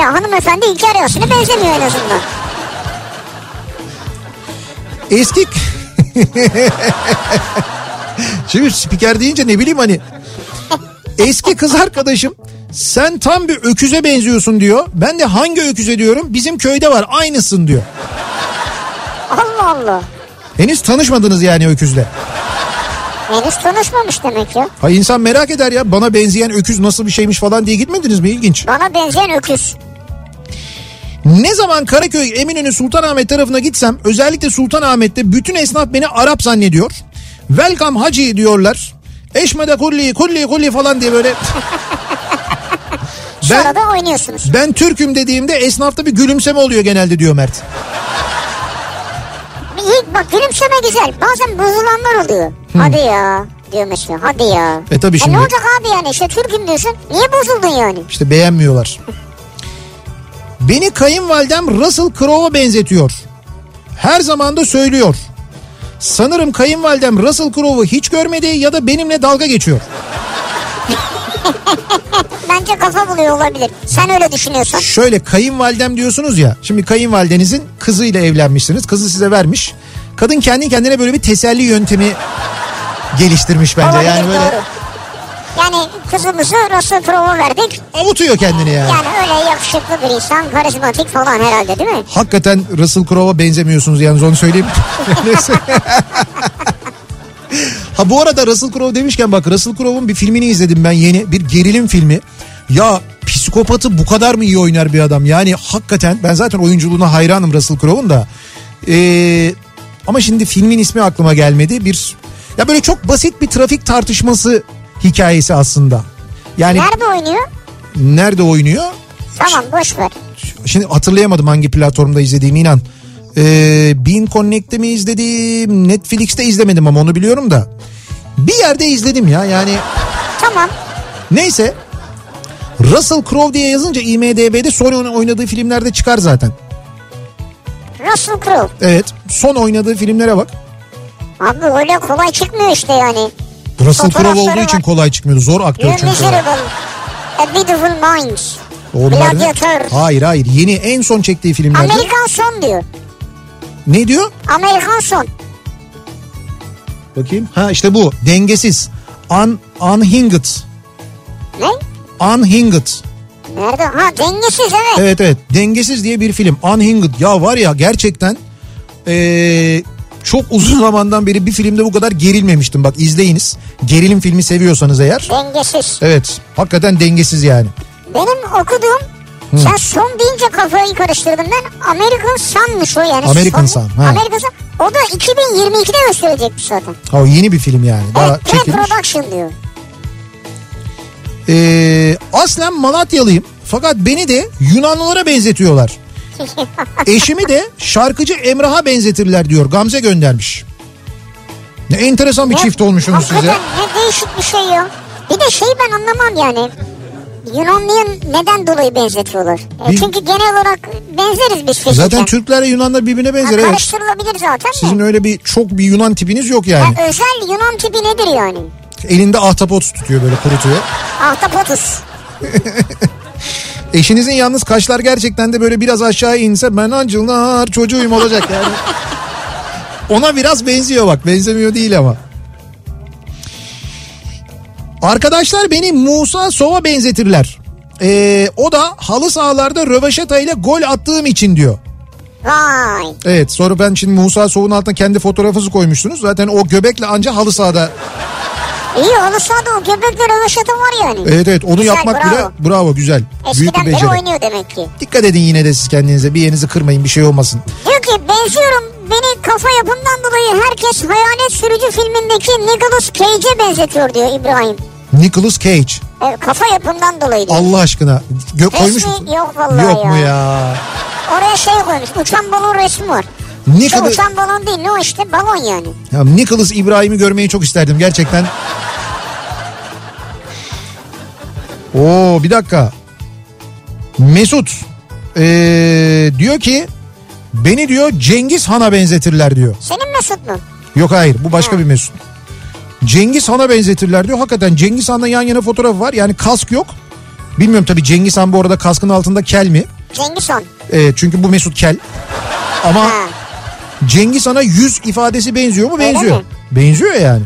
S2: Ya hanımefendi İlker Yasin'e benzemiyor en azından.
S1: Eski... Şimdi spiker deyince ne bileyim hani... Eski kız arkadaşım sen tam bir öküze benziyorsun diyor. Ben de hangi öküze diyorum? Bizim köyde var aynısın diyor.
S2: Allah Allah.
S1: Henüz tanışmadınız yani öküzle.
S2: Henüz tanışmamış demek ya.
S1: Ha insan merak eder ya bana benzeyen öküz nasıl bir şeymiş falan diye gitmediniz mi? İlginç.
S2: Bana benzeyen öküz.
S1: Ne zaman Karaköy, Eminönü, Sultanahmet tarafına gitsem özellikle Sultanahmet'te bütün esnaf beni Arap zannediyor. Welcome Hacı diyorlar. Eşmede kulli kulli kulli falan diye böyle.
S2: Sonra
S1: ben,
S2: da oynuyorsunuz.
S1: ben Türk'üm dediğimde esnafta bir gülümseme oluyor genelde diyor Mert.
S2: İyi, bak gülümseme güzel. Bazen bozulanlar oluyor. Hadi ya diyor mesela. Hadi ya.
S1: E tabii şimdi.
S2: ne olacak abi yani işte Türk'üm diyorsun. Niye bozuldun yani?
S1: İşte beğenmiyorlar. Beni kayınvalidem Russell Crowe'a benzetiyor. Her zaman da söylüyor. Sanırım kayınvalidem Russell Crowe'u hiç görmedi ya da benimle dalga geçiyor.
S2: Bence kafa buluyor olabilir. Sen öyle düşünüyorsan.
S1: Şöyle kayınvalidem diyorsunuz ya. Şimdi kayınvalidenizin kızıyla evlenmişsiniz. Kızı size vermiş. Kadın kendi kendine böyle bir teselli yöntemi geliştirmiş bence.
S2: olabilir
S1: Yani böyle
S2: doğru. Yani kızımızı Russell Crowe'a verdik. E,
S1: avutuyor kendini yani.
S2: Yani öyle yakışıklı bir insan, karizmatik falan herhalde
S1: Hani-
S2: değil mi?
S1: Hakikaten Russell Crowe'a benzemiyorsunuz yalnız onu söyleyeyim. ha bu arada Russell Crowe demişken bak Russell Crowe'un bir filmini izledim ben yeni bir gerilim filmi. Ya psikopatı bu kadar mı iyi oynar bir adam yani hakikaten ben zaten oyunculuğuna hayranım Russell Crowe'un da. Ee, ama şimdi filmin ismi aklıma gelmedi bir ya böyle çok basit bir trafik tartışması hikayesi aslında. Yani
S2: Nerede oynuyor?
S1: nerede oynuyor?
S2: Tamam boş ver.
S1: Şimdi hatırlayamadım hangi platformda izlediğimi inan. Ee, Bean Connect'te mi izledim? Netflix'te izlemedim ama onu biliyorum da. Bir yerde izledim ya yani.
S2: Tamam.
S1: Neyse. Russell Crowe diye yazınca IMDB'de son oyna- oynadığı filmlerde çıkar zaten.
S2: Russell Crowe.
S1: Evet. Son oynadığı filmlere bak.
S2: Abi öyle kolay çıkmıyor işte yani.
S1: Russell Crowe
S2: Fotoğrafları
S1: olduğu için
S2: var.
S1: kolay çıkmıyordu. Zor
S2: You
S1: aktör çünkü.
S2: miserable. A beautiful mind.
S1: Onların...
S2: Gladiator.
S1: Hayır hayır yeni en son çektiği filmlerde.
S2: Amerikan son diyor.
S1: Ne diyor?
S2: Amerikan son.
S1: Bakayım. Ha işte bu dengesiz. Un, unhinged.
S2: Ne?
S1: Unhinged.
S2: Nerede? Ha dengesiz evet.
S1: Evet evet dengesiz diye bir film. Unhinged. Ya var ya gerçekten ee, çok uzun zamandan beri bir filmde bu kadar gerilmemiştim. Bak izleyiniz. Gerilim filmi seviyorsanız eğer.
S2: Dengesiz.
S1: Evet hakikaten dengesiz yani.
S2: Benim okuduğum sen son deyince kafayı karıştırdım ben. American Sun'mış o yani.
S1: American
S2: Son-
S1: Sun, ha.
S2: American Sun. O da 2022'de gösterilecekmiş zaten.
S1: Ha, o yeni bir film yani. Daha
S2: Evet
S1: çekilmiş.
S2: pre-production diyor.
S1: Ee, aslen Malatyalıyım fakat beni de Yunanlılara benzetiyorlar. Eşimi de şarkıcı Emrah'a benzetirler diyor Gamze göndermiş. Ne enteresan bir
S2: Ya,
S1: çift olmuşsunuz size.
S2: hakikaten Ne değişik bir şey ya. Bir de şeyi ben anlamam yani. Yunanlı'ya neden dolayı benzetiyorlar? E,
S1: Bil-
S2: çünkü genel olarak benzeriz biz fiziken.
S1: Zaten Türklerle Yunanlar birbirine
S2: Ha,
S1: benzer evet.
S2: Karıştırılabilir zaten de.
S1: Sizin öyle bir çok bir Yunan tipiniz yok yani.
S2: Ha, özel Yunan tipi nedir yani?
S1: Elinde ahtapot tutuyor böyle kurutuyor.
S2: Ahtapotus.
S1: Eşinizin yalnız kaşlar gerçekten de böyle biraz aşağı inse ben ancıllar çocuğuyum olacak yani. Ona biraz benziyor bak benzemiyor değil ama. Arkadaşlar beni Musa Sova benzetirler. Ee, o da halı sahalarda röveşata ile gol attığım için diyor.
S2: Vay.
S1: Evet sonra ben şimdi Musa Sova'nın altına kendi fotoğrafınızı koymuştunuz. Zaten o göbekle anca halı sahada.
S2: İyi olursa da o göbekler röveşatı var yani.
S1: Evet evet onu
S2: Güzel,
S1: yapmak
S2: bravo.
S1: bile bravo güzel.
S2: Eskiden
S1: Büyük bir
S2: beri
S1: beceri.
S2: oynuyor demek ki.
S1: Dikkat edin yine de siz kendinize bir yerinizi kırmayın bir şey olmasın.
S2: Diyor ki benziyorum beni kafa yapımdan dolayı herkes Hayalet Sürücü filmindeki Nicolas Cage'e benzetiyor diyor İbrahim.
S1: Nicolas Cage.
S2: E, kafa yapımdan dolayı diyor.
S1: Allah aşkına. Gö koymuş mu?
S2: Resmi yok vallahi
S1: Yok mu
S2: ya.
S1: ya?
S2: Oraya şey koymuş uçan balon resmi var.
S1: Ne
S2: Şu
S1: kadar-
S2: uçan balon değil ne o işte balon yani.
S1: ya Nicholas İbrahim'i görmeyi çok isterdim gerçekten. Oo bir dakika. Mesut ee, diyor ki beni diyor Cengiz Han'a benzetirler diyor.
S2: Senin Mesut mu?
S1: Yok hayır bu başka bir Mesut. Cengiz Han'a benzetirler diyor. Hakikaten Cengiz Han'la yan yana fotoğrafı var. Yani kask yok. Bilmiyorum tabii Cengiz Han bu arada kaskın altında kel mi?
S2: Cengiz Han.
S1: Ee, çünkü bu Mesut Kel. Ama
S2: Ha.
S1: Cengiz Han'a yüz ifadesi benziyor mu?
S2: Öyle
S1: Benziyor.
S2: mi?
S1: Benziyor yani.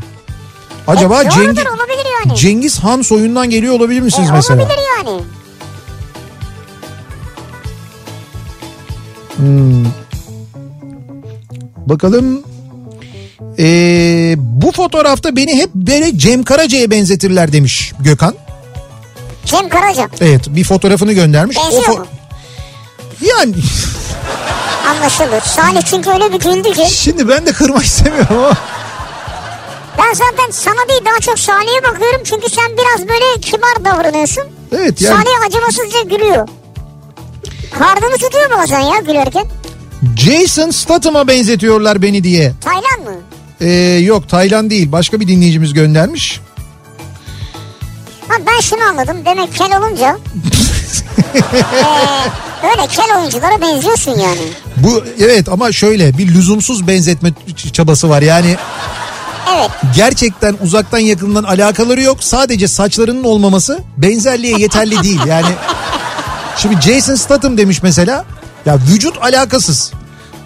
S1: Acaba
S2: E, doğrudur,
S1: Cengiz,
S2: olabilir yani.
S1: Cengiz Han soyundan geliyor olabilir
S2: E,
S1: misiniz mesela?
S2: olabilir yani.
S1: Bakalım. Ee, bu fotoğrafta beni hep böyle Cem Karaca'ya benzetirler demiş Gökhan.
S2: Cem Karaca
S1: Evet bir fotoğrafını göndermiş.
S2: Benziyor
S1: fo-
S2: mu?
S1: Yani
S2: anlaşılır. Salih çünkü öyle bir güldü ki.
S1: şimdi ben de kırmak istemiyorum ama.
S2: Ben zaten sana değil daha çok Salih'e bakıyorum çünkü sen biraz böyle kibar davranıyorsun.
S1: Evet yani
S2: Salih acımasızca gülüyor. Karnını tutuyor bazen ya gülerken.
S1: Jason Statham'a benzetiyorlar beni diye.
S2: Taylan mı?
S1: Ee, yok Taylan değil başka bir dinleyicimiz göndermiş.
S2: Ha ben şunu anladım. Demek kel olunca eee, öyle kel oyunculara benziyorsun yani.
S1: Bu evet ama şöyle bir lüzumsuz benzetme ç- çabası var. Yani
S2: Evet.
S1: gerçekten uzaktan yakından alakaları yok. Sadece saçlarının olmaması benzerliğe yeterli değil. Yani şimdi Jason Statham demiş mesela. Ya vücut alakasız.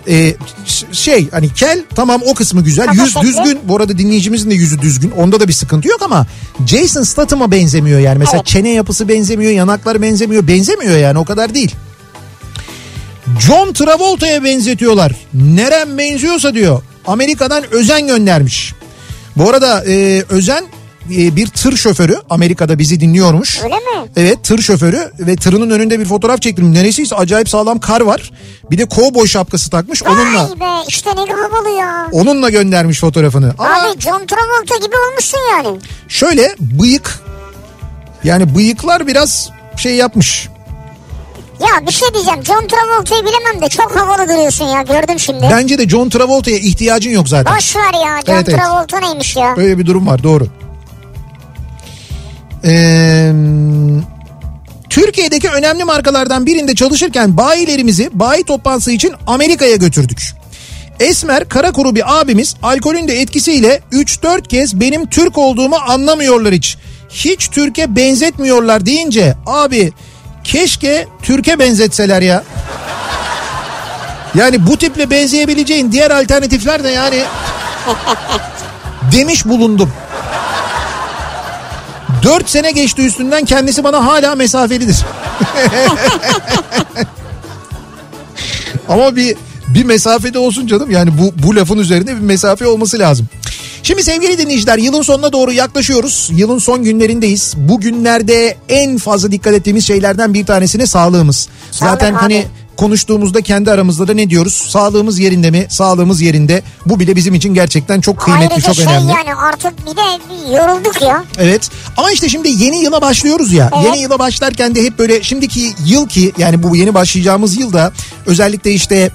S1: Ee, ş- şey hani kel tamam o kısmı güzel.
S2: Kafa
S1: Yüz
S2: şekli.
S1: düzgün. Bu arada dinleyicimizin de yüzü düzgün. Onda da bir sıkıntı yok ama Jason Statham'a benzemiyor yani. Mesela
S2: Evet.
S1: çene yapısı benzemiyor, yanaklar benzemiyor. Benzemiyor yani o kadar değil. John Travolta'ya benzetiyorlar. Nerem benziyorsa diyor. Amerika'dan Özen göndermiş. Bu arada e, Özen e, bir tır şoförü. Amerika'da bizi dinliyormuş.
S2: Öyle mi?
S1: Evet tır şoförü ve tırının önünde bir fotoğraf çektim. Neresiyse acayip sağlam kar var. Bir de kovboy şapkası takmış. Onunla
S2: Vay be işte ne havalı ya.
S1: onunla göndermiş fotoğrafını. Ama
S2: Abi John Travolta gibi olmuşsun yani.
S1: şöyle bıyık yani bıyıklar biraz şey yapmış.
S2: Ya bir şey diyeceğim. John Travolta'yı bilemem de çok havalı duruyorsun ya. Gördüm şimdi.
S1: Bence de John Travolta'ya ihtiyacın yok zaten.
S2: Boş ver ya. John
S1: Evet, evet.
S2: Travolta neymiş ya?
S1: Öyle bir durum var doğru. Ee, Türkiye'deki önemli markalardan birinde çalışırken bayilerimizi bayi toplantısı için Amerika'ya götürdük. Esmer Karakuru bir abimiz alkolün de etkisiyle 3-4 kez benim Türk olduğumu anlamıyorlar hiç. Hiç Türk'e benzetmiyorlar deyince abi Keşke Türk'e benzetseler ya. Yani bu tiple benzeyebileceğin diğer alternatifler de yani demiş bulundum. Dört sene geçti üstünden kendisi bana hala mesafelidir. Ama bir bir mesafede olsun canım. Yani bu bu lafın üzerinde bir mesafe olması lazım. Şimdi sevgili dinleyiciler yılın sonuna doğru yaklaşıyoruz. Yılın son günlerindeyiz. Bu günlerde en fazla dikkat ettiğimiz şeylerden bir tanesine sağlığımız.
S2: Sağlık
S1: Zaten
S2: abi.
S1: hani konuştuğumuzda kendi aramızda da ne diyoruz? Sağlığımız yerinde mi? Sağlığımız yerinde. Bu bile bizim için gerçekten çok kıymetli,
S2: Ayrıca
S1: çok
S2: şey
S1: önemli.
S2: yani artık bir de yorulduk ya.
S1: Evet ama işte şimdi yeni yıla başlıyoruz ya.
S2: Evet.
S1: Yeni yıla başlarken de hep böyle şimdiki yıl ki yani bu yeni başlayacağımız yılda özellikle işte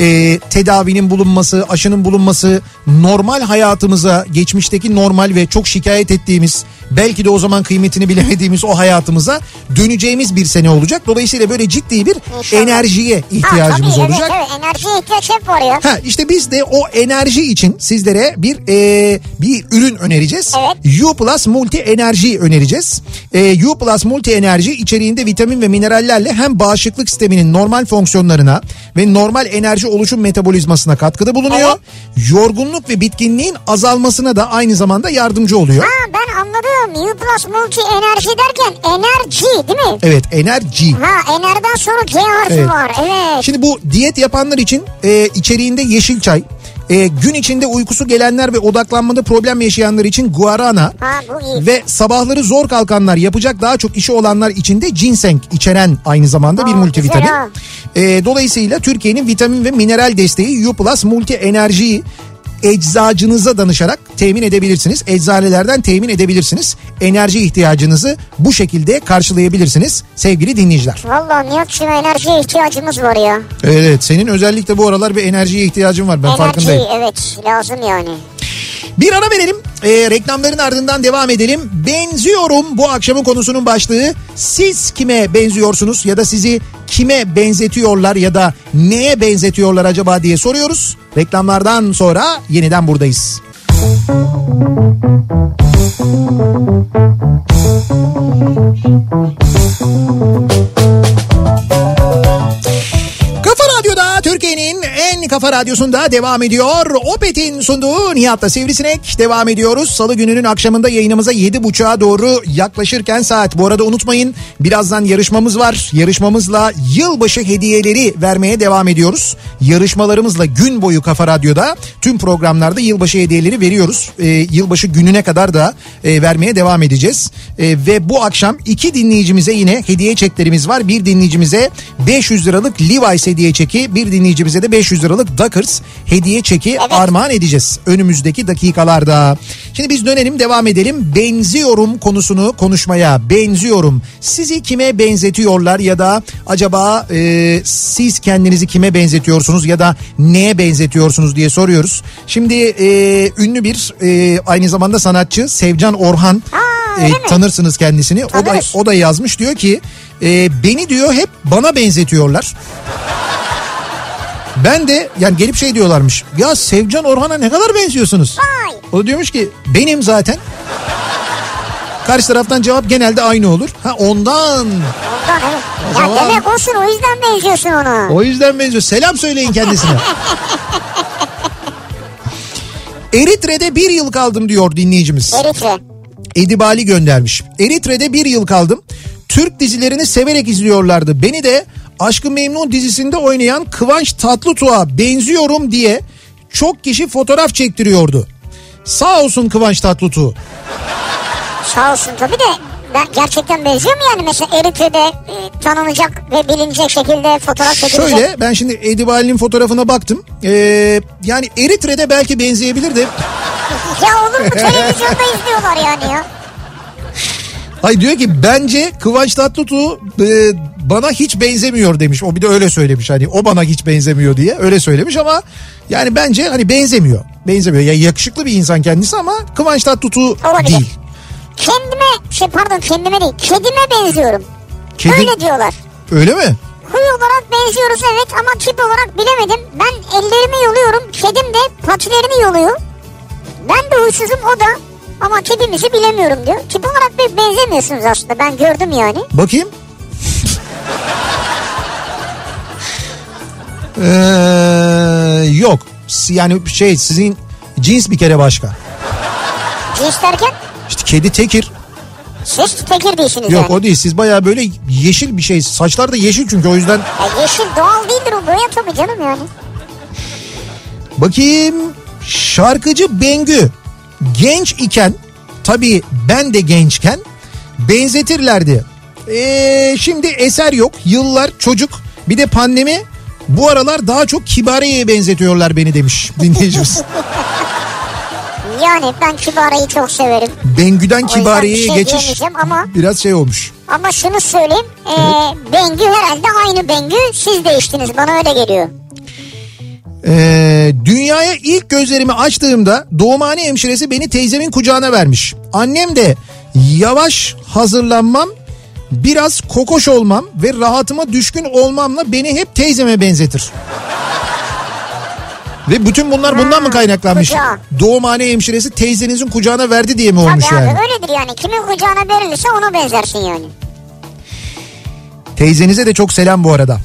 S1: e, tedavinin bulunması, aşının bulunması normal hayatımıza geçmişteki normal ve çok şikayet ettiğimiz belki de o zaman kıymetini bilemediğimiz o hayatımıza döneceğimiz bir sene olacak. Dolayısıyla böyle ciddi bir
S2: İnşallah.
S1: enerjiye
S2: Ha,
S1: ihtiyacımız
S2: tabii,
S1: olacak.
S2: Evet, evet enerjiye ihtiyaç hep var ya.
S1: Ha işte biz de o enerji için sizlere bir e, bir ürün önereceğiz.
S2: Evet.
S1: U Plus Multi Enerji önereceğiz. E, U Plus Multi Enerji içeriğinde vitamin ve minerallerle hem bağışıklık sisteminin normal fonksiyonlarına ve normal enerji oluşum metabolizmasına katkıda bulunuyor. Yorgunluk ve bitkinliğin azalmasına da aynı zamanda yardımcı oluyor.
S2: Ha ben anladım. U plus multi enerji derken enerji değil mi?
S1: Evet enerji.
S2: Ha enerden sonra G harfi
S1: Evet.
S2: var. Evet.
S1: Şimdi bu diyet yapanlar için e, içeriğinde yeşil çay, e, gün içinde uykusu gelenler ve odaklanmada problem yaşayanlar için guarana
S2: Ha bu iyi.
S1: ve sabahları zor kalkanlar yapacak daha çok işi olanlar için de ginseng içeren aynı zamanda bir
S2: Aa,
S1: multivitamin.
S2: güzel ha.
S1: E, dolayısıyla Türkiye'nin vitamin ve mineral desteği U Plus Multi Enerji'yi eczacınıza danışarak temin edebilirsiniz. Eczanelerden temin edebilirsiniz. Enerji ihtiyacınızı bu şekilde karşılayabilirsiniz sevgili dinleyiciler.
S2: Valla Nihat'cığım enerjiye ihtiyacımız var ya.
S1: Evet senin özellikle bu aralar bir enerjiye ihtiyacın var ben
S2: Enerji
S1: farkındayım.
S2: evet lazım yani.
S1: Bir ara verelim Ee, reklamların ardından devam edelim. Benziyorum bu akşamın konusunun başlığı. Siz kime benziyorsunuz ya da sizi kime benzetiyorlar ya da neye benzetiyorlar acaba diye soruyoruz. Reklamlardan sonra yeniden buradayız. Kafa Radyo'da Türkiye'nin en kafa radyosunda devam ediyor. Opet'in sunduğu Nihat'la Sivrisinek devam ediyoruz. Salı gününün akşamında yayınımıza 7.30'a doğru yaklaşırken saat. Bu arada unutmayın birazdan yarışmamız var. Yarışmamızla yılbaşı hediyeleri vermeye devam ediyoruz. Yarışmalarımızla gün boyu Kafa Radyo'da tüm programlarda yılbaşı hediyeleri veriyoruz. Ee, yılbaşı gününe kadar da e, vermeye devam edeceğiz. E, ve bu akşam iki dinleyicimize yine hediye çeklerimiz var. Bir dinleyicimize 500 liralık Levi's hediye çeki, bir dinleyicimize de 500 liralık Dockers hediye çeki armağan edeceğiz önümüzdeki dakikalarda. Şimdi biz dönelim devam edelim. Benziyorum konusunu konuşmaya. Benziyorum. Sizi kime benzetiyorlar ya da acaba e, siz kendinizi kime benzetiyorsunuz ya da neye benzetiyorsunuz diye soruyoruz. Şimdi e, ünlü bir e, aynı zamanda sanatçı Sevcan Orhan e,
S2: Aa, öyle mi?
S1: tanırsınız kendisini. O da
S2: Tanırız.
S1: o da yazmış diyor ki e, beni diyor hep bana benzetiyorlar. Ben de yani gelip şey diyorlarmış. Ya Sevcan Orhan'a ne kadar benziyorsunuz?
S2: Vay.
S1: O da diyormuş ki benim zaten. Karşı taraftan cevap genelde aynı olur. Ha ondan.
S2: Ondan evet.
S1: O
S2: ya
S1: zaman-
S2: demek olsun o yüzden benziyorsun ona.
S1: O yüzden benziyor. Selam söyleyin kendisine. Eritre'de bir yıl kaldım diyor dinleyicimiz.
S2: Eritre.
S1: Edibali göndermiş. Eritre'de bir yıl kaldım. Türk dizilerini severek izliyorlardı. Beni de Aşkı Memnun dizisinde oynayan Kıvanç Tatlıtuğ'a benziyorum diye çok kişi fotoğraf çektiriyordu. Sağ olsun Kıvanç Tatlıtuğ.
S2: Sağ olsun tabii de ben gerçekten benziyor mu yani mesela Eritre'de e, tanınacak ve bilinecek şekilde fotoğraf çekilecek.
S1: Şöyle ben şimdi Edibali'nin fotoğrafına baktım. Ee, yani Eritre'de belki benzeyebilir de.
S2: Ya olur mu televizyonda izliyorlar yani ya.
S1: Ay diyor ki bence Kıvanç Tatlıtuğ e, bana hiç benzemiyor demiş. O bir de öyle söylemiş hani o bana hiç benzemiyor diye öyle söylemiş ama yani bence hani benzemiyor. Benzemiyor. Ya yakışıklı bir insan kendisi ama Kıvanç Tatlıtuğ
S2: Olabilir.
S1: değil.
S2: Kendime şey pardon kendime değil kedime benziyorum.
S1: Kedi-
S2: Öyle diyorlar.
S1: Öyle mi?
S2: Huy olarak benziyoruz evet ama tip olarak bilemedim. Ben ellerimi yoluyorum. Kedim de patilerini yoluyor. Ben de huysuzum o da. Ama tipimizi bilemiyorum diyor. Tip olarak bir benzemiyorsunuz aslında. Ben gördüm yani.
S1: Bakayım. Ee, yok. Si- Yani şey sizin cins bir kere başka.
S2: Cins derken
S1: İşte kedi tekir.
S2: siz tekir değilsiniz
S1: Yok
S2: yani.
S1: o değil. Siz bayağı böyle yeşil bir şey. Saçlar da yeşil çünkü o yüzden.
S2: Ya yeşil doğal değildir o boya tabii canım yani.
S1: Bakayım. Şarkıcı Bengü. Genç iken tabii ben de gençken benzetirlerdi. Ee, şimdi eser yok. Yıllar çocuk. Bir de pandemi. Bu aralar daha çok kibareye benzetiyorlar beni demiş dinleyicimiz.
S2: Yani ben Kibara'yı çok severim.
S1: Bengü'den
S2: yüzden bir
S1: kibareye
S2: şey
S1: geçiş
S2: diyemeyeceğim ama-
S1: biraz şey olmuş.
S2: Ama şunu söyleyeyim. E, Bengü herhalde aynı Bengü. Siz değiştiniz. Bana öyle geliyor.
S1: Ee, dünyaya ilk gözlerimi açtığımda doğumhane hemşiresi beni teyzemin kucağına vermiş. Annem de yavaş hazırlanmam, biraz kokoş olmam ve rahatıma düşkün olmamla beni hep teyzeme benzetir. Ve bütün bunlar bundan mı kaynaklanmış?
S2: kucağı.
S1: Doğumhane hemşiresi teyzenizin kucağına verdi diye mi
S2: Tabii
S1: olmuş yani?
S2: abi öyledir yani. Kimin kucağına verilirse ona benzersin yani.
S1: Teyzenize de çok selam bu arada.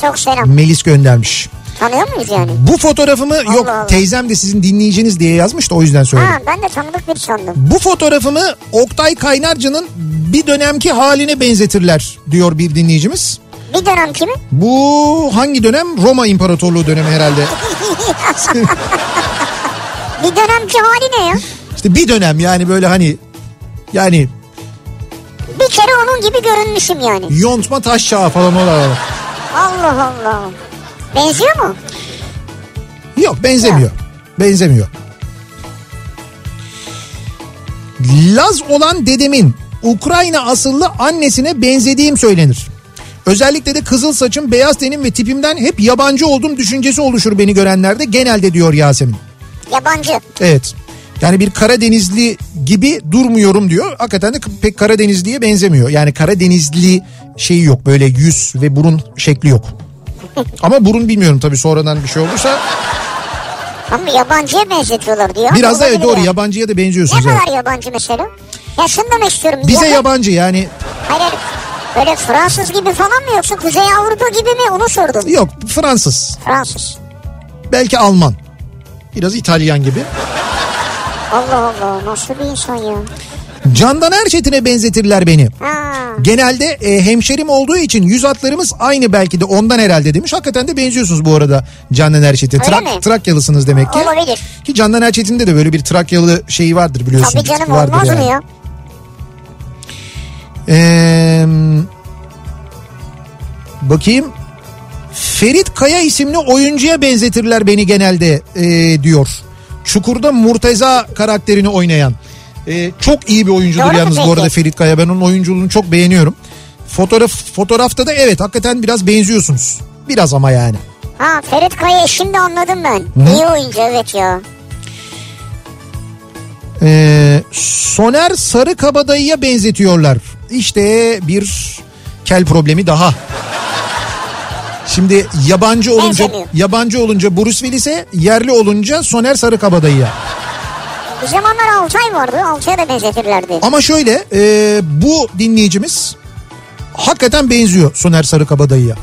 S2: Çok selam.
S1: Melis göndermiş.
S2: Tanıyor muyuz yani?
S1: Bu fotoğrafımı yok
S2: Allah.
S1: teyzem de sizin dinleyiciniz diye yazmış da o yüzden söyledim.
S2: Ha, ben de tanıdık bir sandım.
S1: Bu fotoğrafımı Oktay Kaynarca'nın bir dönemki haline benzetirler diyor bir dinleyicimiz.
S2: Bir dönem kimi?
S1: Bu hangi dönem? Roma İmparatorluğu dönemi herhalde.
S2: Bir dönemki hali ne ya?
S1: İşte bir dönem yani böyle hani yani
S2: Bir kere onun gibi görünmüşüm yani.
S1: yontma taş çağı falan olarak.
S2: Allah Allah. Benziyor mu?
S1: Yok benzemiyor. Benzemiyor. Laz olan dedemin Ukrayna asıllı annesine benzediğim söylenir. Özellikle de kızıl saçım, beyaz tenim ve tipimden hep yabancı olduğum düşüncesi oluşur beni görenlerde genelde diyor Yasemin.
S2: Yabancı.
S1: Evet. Yani bir Karadenizli gibi durmuyorum diyor. Hakikaten de pek Karadenizliye benzemiyor. Yani Karadenizli şeyi yok. Böyle yüz ve burun şekli yok. Ama burun bilmiyorum tabii sonradan bir şey olursa.
S2: Ama yabancıya benzetiyorlar diyor.
S1: Biraz da evet,
S2: Olabilir
S1: doğru
S2: yani.
S1: yabancıya da
S2: Ne
S1: benziyorsunuz. evet.
S2: kadar yabancı mesela? Ya şunu demek istiyorum.
S1: Bize
S2: Yaba-
S1: yabancı yani.
S2: Hayır, hayır. Böyle Fransız gibi falan mı yoksa Kuzey Avrupa gibi mi onu sordum.
S1: Yok Fransız.
S2: Fransız.
S1: Belki Alman. Biraz İtalyan gibi.
S2: Allah Allah nasıl bir insan ya.
S1: Candan Erçetin'e benzetirler beni.
S2: Ha.
S1: Genelde e, hemşerim olduğu için yüz hatlarımız aynı belki de ondan herhalde demiş. Hakikaten de benziyorsunuz bu arada Candan Erçetin.
S2: Öyle
S1: Trak-
S2: mi?
S1: Trakyalısınız demek ki.
S2: Olabilir.
S1: Ki Candan Erçetin'de de böyle bir Trakyalı şeyi vardır biliyorsun.
S2: Tabii canım
S1: Vardır
S2: olmaz
S1: yani.
S2: mı ya?
S1: Ee, bakayım. Ferit Kaya isimli oyuncuya benzetirler beni genelde ee, diyor. Çukur'da Murteza karakterini oynayan. Ee, çok iyi bir oyuncudur
S2: Doğru mu
S1: yalnız bu
S2: peki?
S1: arada Ferit Kaya. Ben onun oyunculuğunu çok beğeniyorum. Fotoğraf fotoğrafta da evet hakikaten biraz benziyorsunuz. Biraz ama yani.
S2: Ha Ferit Kaya şimdi anladım ben. İyi oyuncu evet ya.
S1: Ee, Soner Sarıkabadayı'ya benzetiyorlar. İşte bir kel problemi daha. Şimdi yabancı olunca
S2: Benzemiyor.
S1: yabancı olunca Bruce Willis'e, yerli olunca Soner Sarıkabadayı'ya.
S2: Bir zamanlar Altay vardı. Altay'a da benzetirlerdi.
S1: Ama şöyle e, bu dinleyicimiz hakikaten benziyor Soner Sarıkabadayı'ya.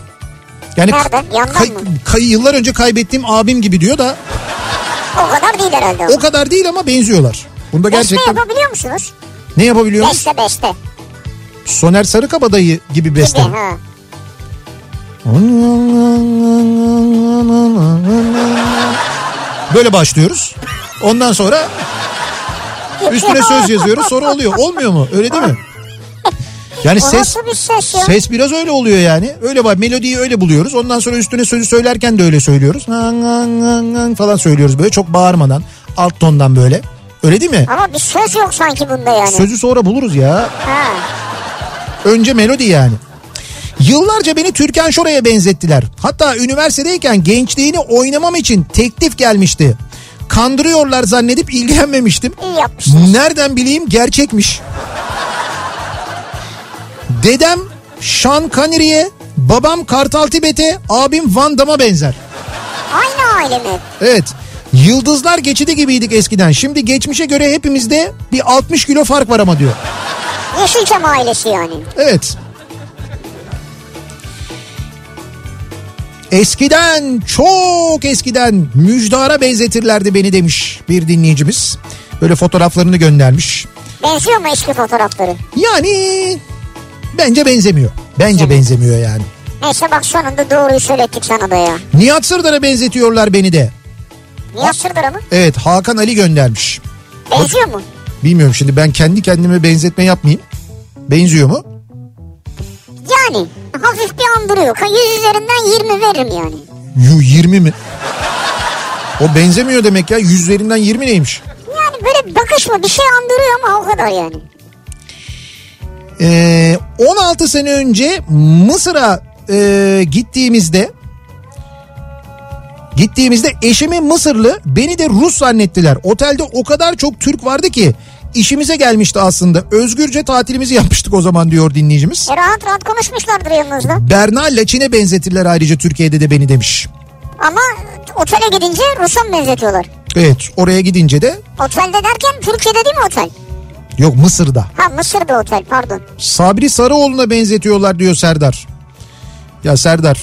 S1: Yani
S2: Nereden? Yandan
S1: kay-
S2: mı?
S1: kay- yıllar önce kaybettiğim abim gibi diyor da
S2: O kadar değil herhalde.
S1: o kadar değil ama benziyorlar. Bunda
S2: Beste
S1: gerçekten
S2: yapabiliyor musunuz?
S1: ne yapabiliyoruz?
S2: Beste beste.
S1: Soner Sarıkabadayı gibi beste.
S2: Gibi ha.
S1: Böyle başlıyoruz. Ondan sonra üstüne söz yazıyoruz. Sonra oluyor. Olmuyor mu? Öyle değil mi? Yani
S2: O
S1: ses
S2: nasıl bir ses ya?
S1: ses biraz öyle oluyor yani. Öyle bak melodiyi öyle buluyoruz. Ondan sonra üstüne sözü söylerken de öyle söylüyoruz. Nang, nang, nang, nang falan söylüyoruz böyle çok bağırmadan, alt tondan böyle. Öyle değil mi?
S2: Ama bir söz yok sanki bunda yani.
S1: Sözü sonra buluruz ya.
S2: Ha.
S1: Önce melodi yani. Yıllarca beni Türkan Şoray'a benzettiler. Hatta üniversitedeyken gençliğini oynamam için teklif gelmişti. Kandırıyorlar zannedip ilgilenmemiştim.
S2: İyi yapmışsın.
S1: Nereden bileyim gerçekmiş. Dedem Sean Connery'e, babam Kartal Tibet'e, abim Van Damme'a benzer.
S2: Aynı aile mi?
S1: Evet. Yıldızlar geçidi gibiydik eskiden. Şimdi geçmişe göre hepimizde bir 60 kilo fark var ama diyor.
S2: Yeşilçam ailesi yani.
S1: Evet. Eskiden çok eskiden müjdara benzetirlerdi beni demiş bir dinleyicimiz. Böyle fotoğraflarını göndermiş.
S2: Benziyor mu eski fotoğrafları?
S1: Yani bence benzemiyor. Bence benzemiyor yani.
S2: Neyse bak sonunda doğruyu söylettik sana da ya.
S1: Nihat Sırdar'a benzetiyorlar beni de.
S2: Nihat Sırdar'a mı?
S1: Evet Hakan Ali göndermiş.
S2: Benziyor mu?
S1: Bilmiyorum şimdi ben kendi kendime benzetme yapmayayım. Benziyor mu?
S2: Yani hafif bir andırıyor. Ka- Yüz üzerinden 20 veririm yani.
S1: Yu 20 mi? O benzemiyor demek ya. Yüzlerinden 20 neymiş?
S2: Yani böyle bakış mı bir şey andırıyor ama o kadar yani.
S1: Ee, 16 sene önce Mısır'a e, gittiğimizde gittiğimizde eşimi Mısırlı beni de Rus zannettiler. Otelde o kadar çok Türk vardı ki işimize gelmişti aslında. Özgürce tatilimizi yapmıştık o zaman diyor dinleyicimiz.
S2: E rahat rahat konuşmuşlardır yanınızda.
S1: Berna Laçin'e benzetirler ayrıca Türkiye'de de beni demiş.
S2: Ama otele gidince Rus'a mı benzetiyorlar?
S1: Evet oraya gidince de
S2: Otelde derken Türkiye'de değil mi otel?
S1: yok Mısır'da.
S2: Ha Mısır'da otel pardon.
S1: Sabri Sarıoğlu'na benzetiyorlar diyor Serdar. Ya Serdar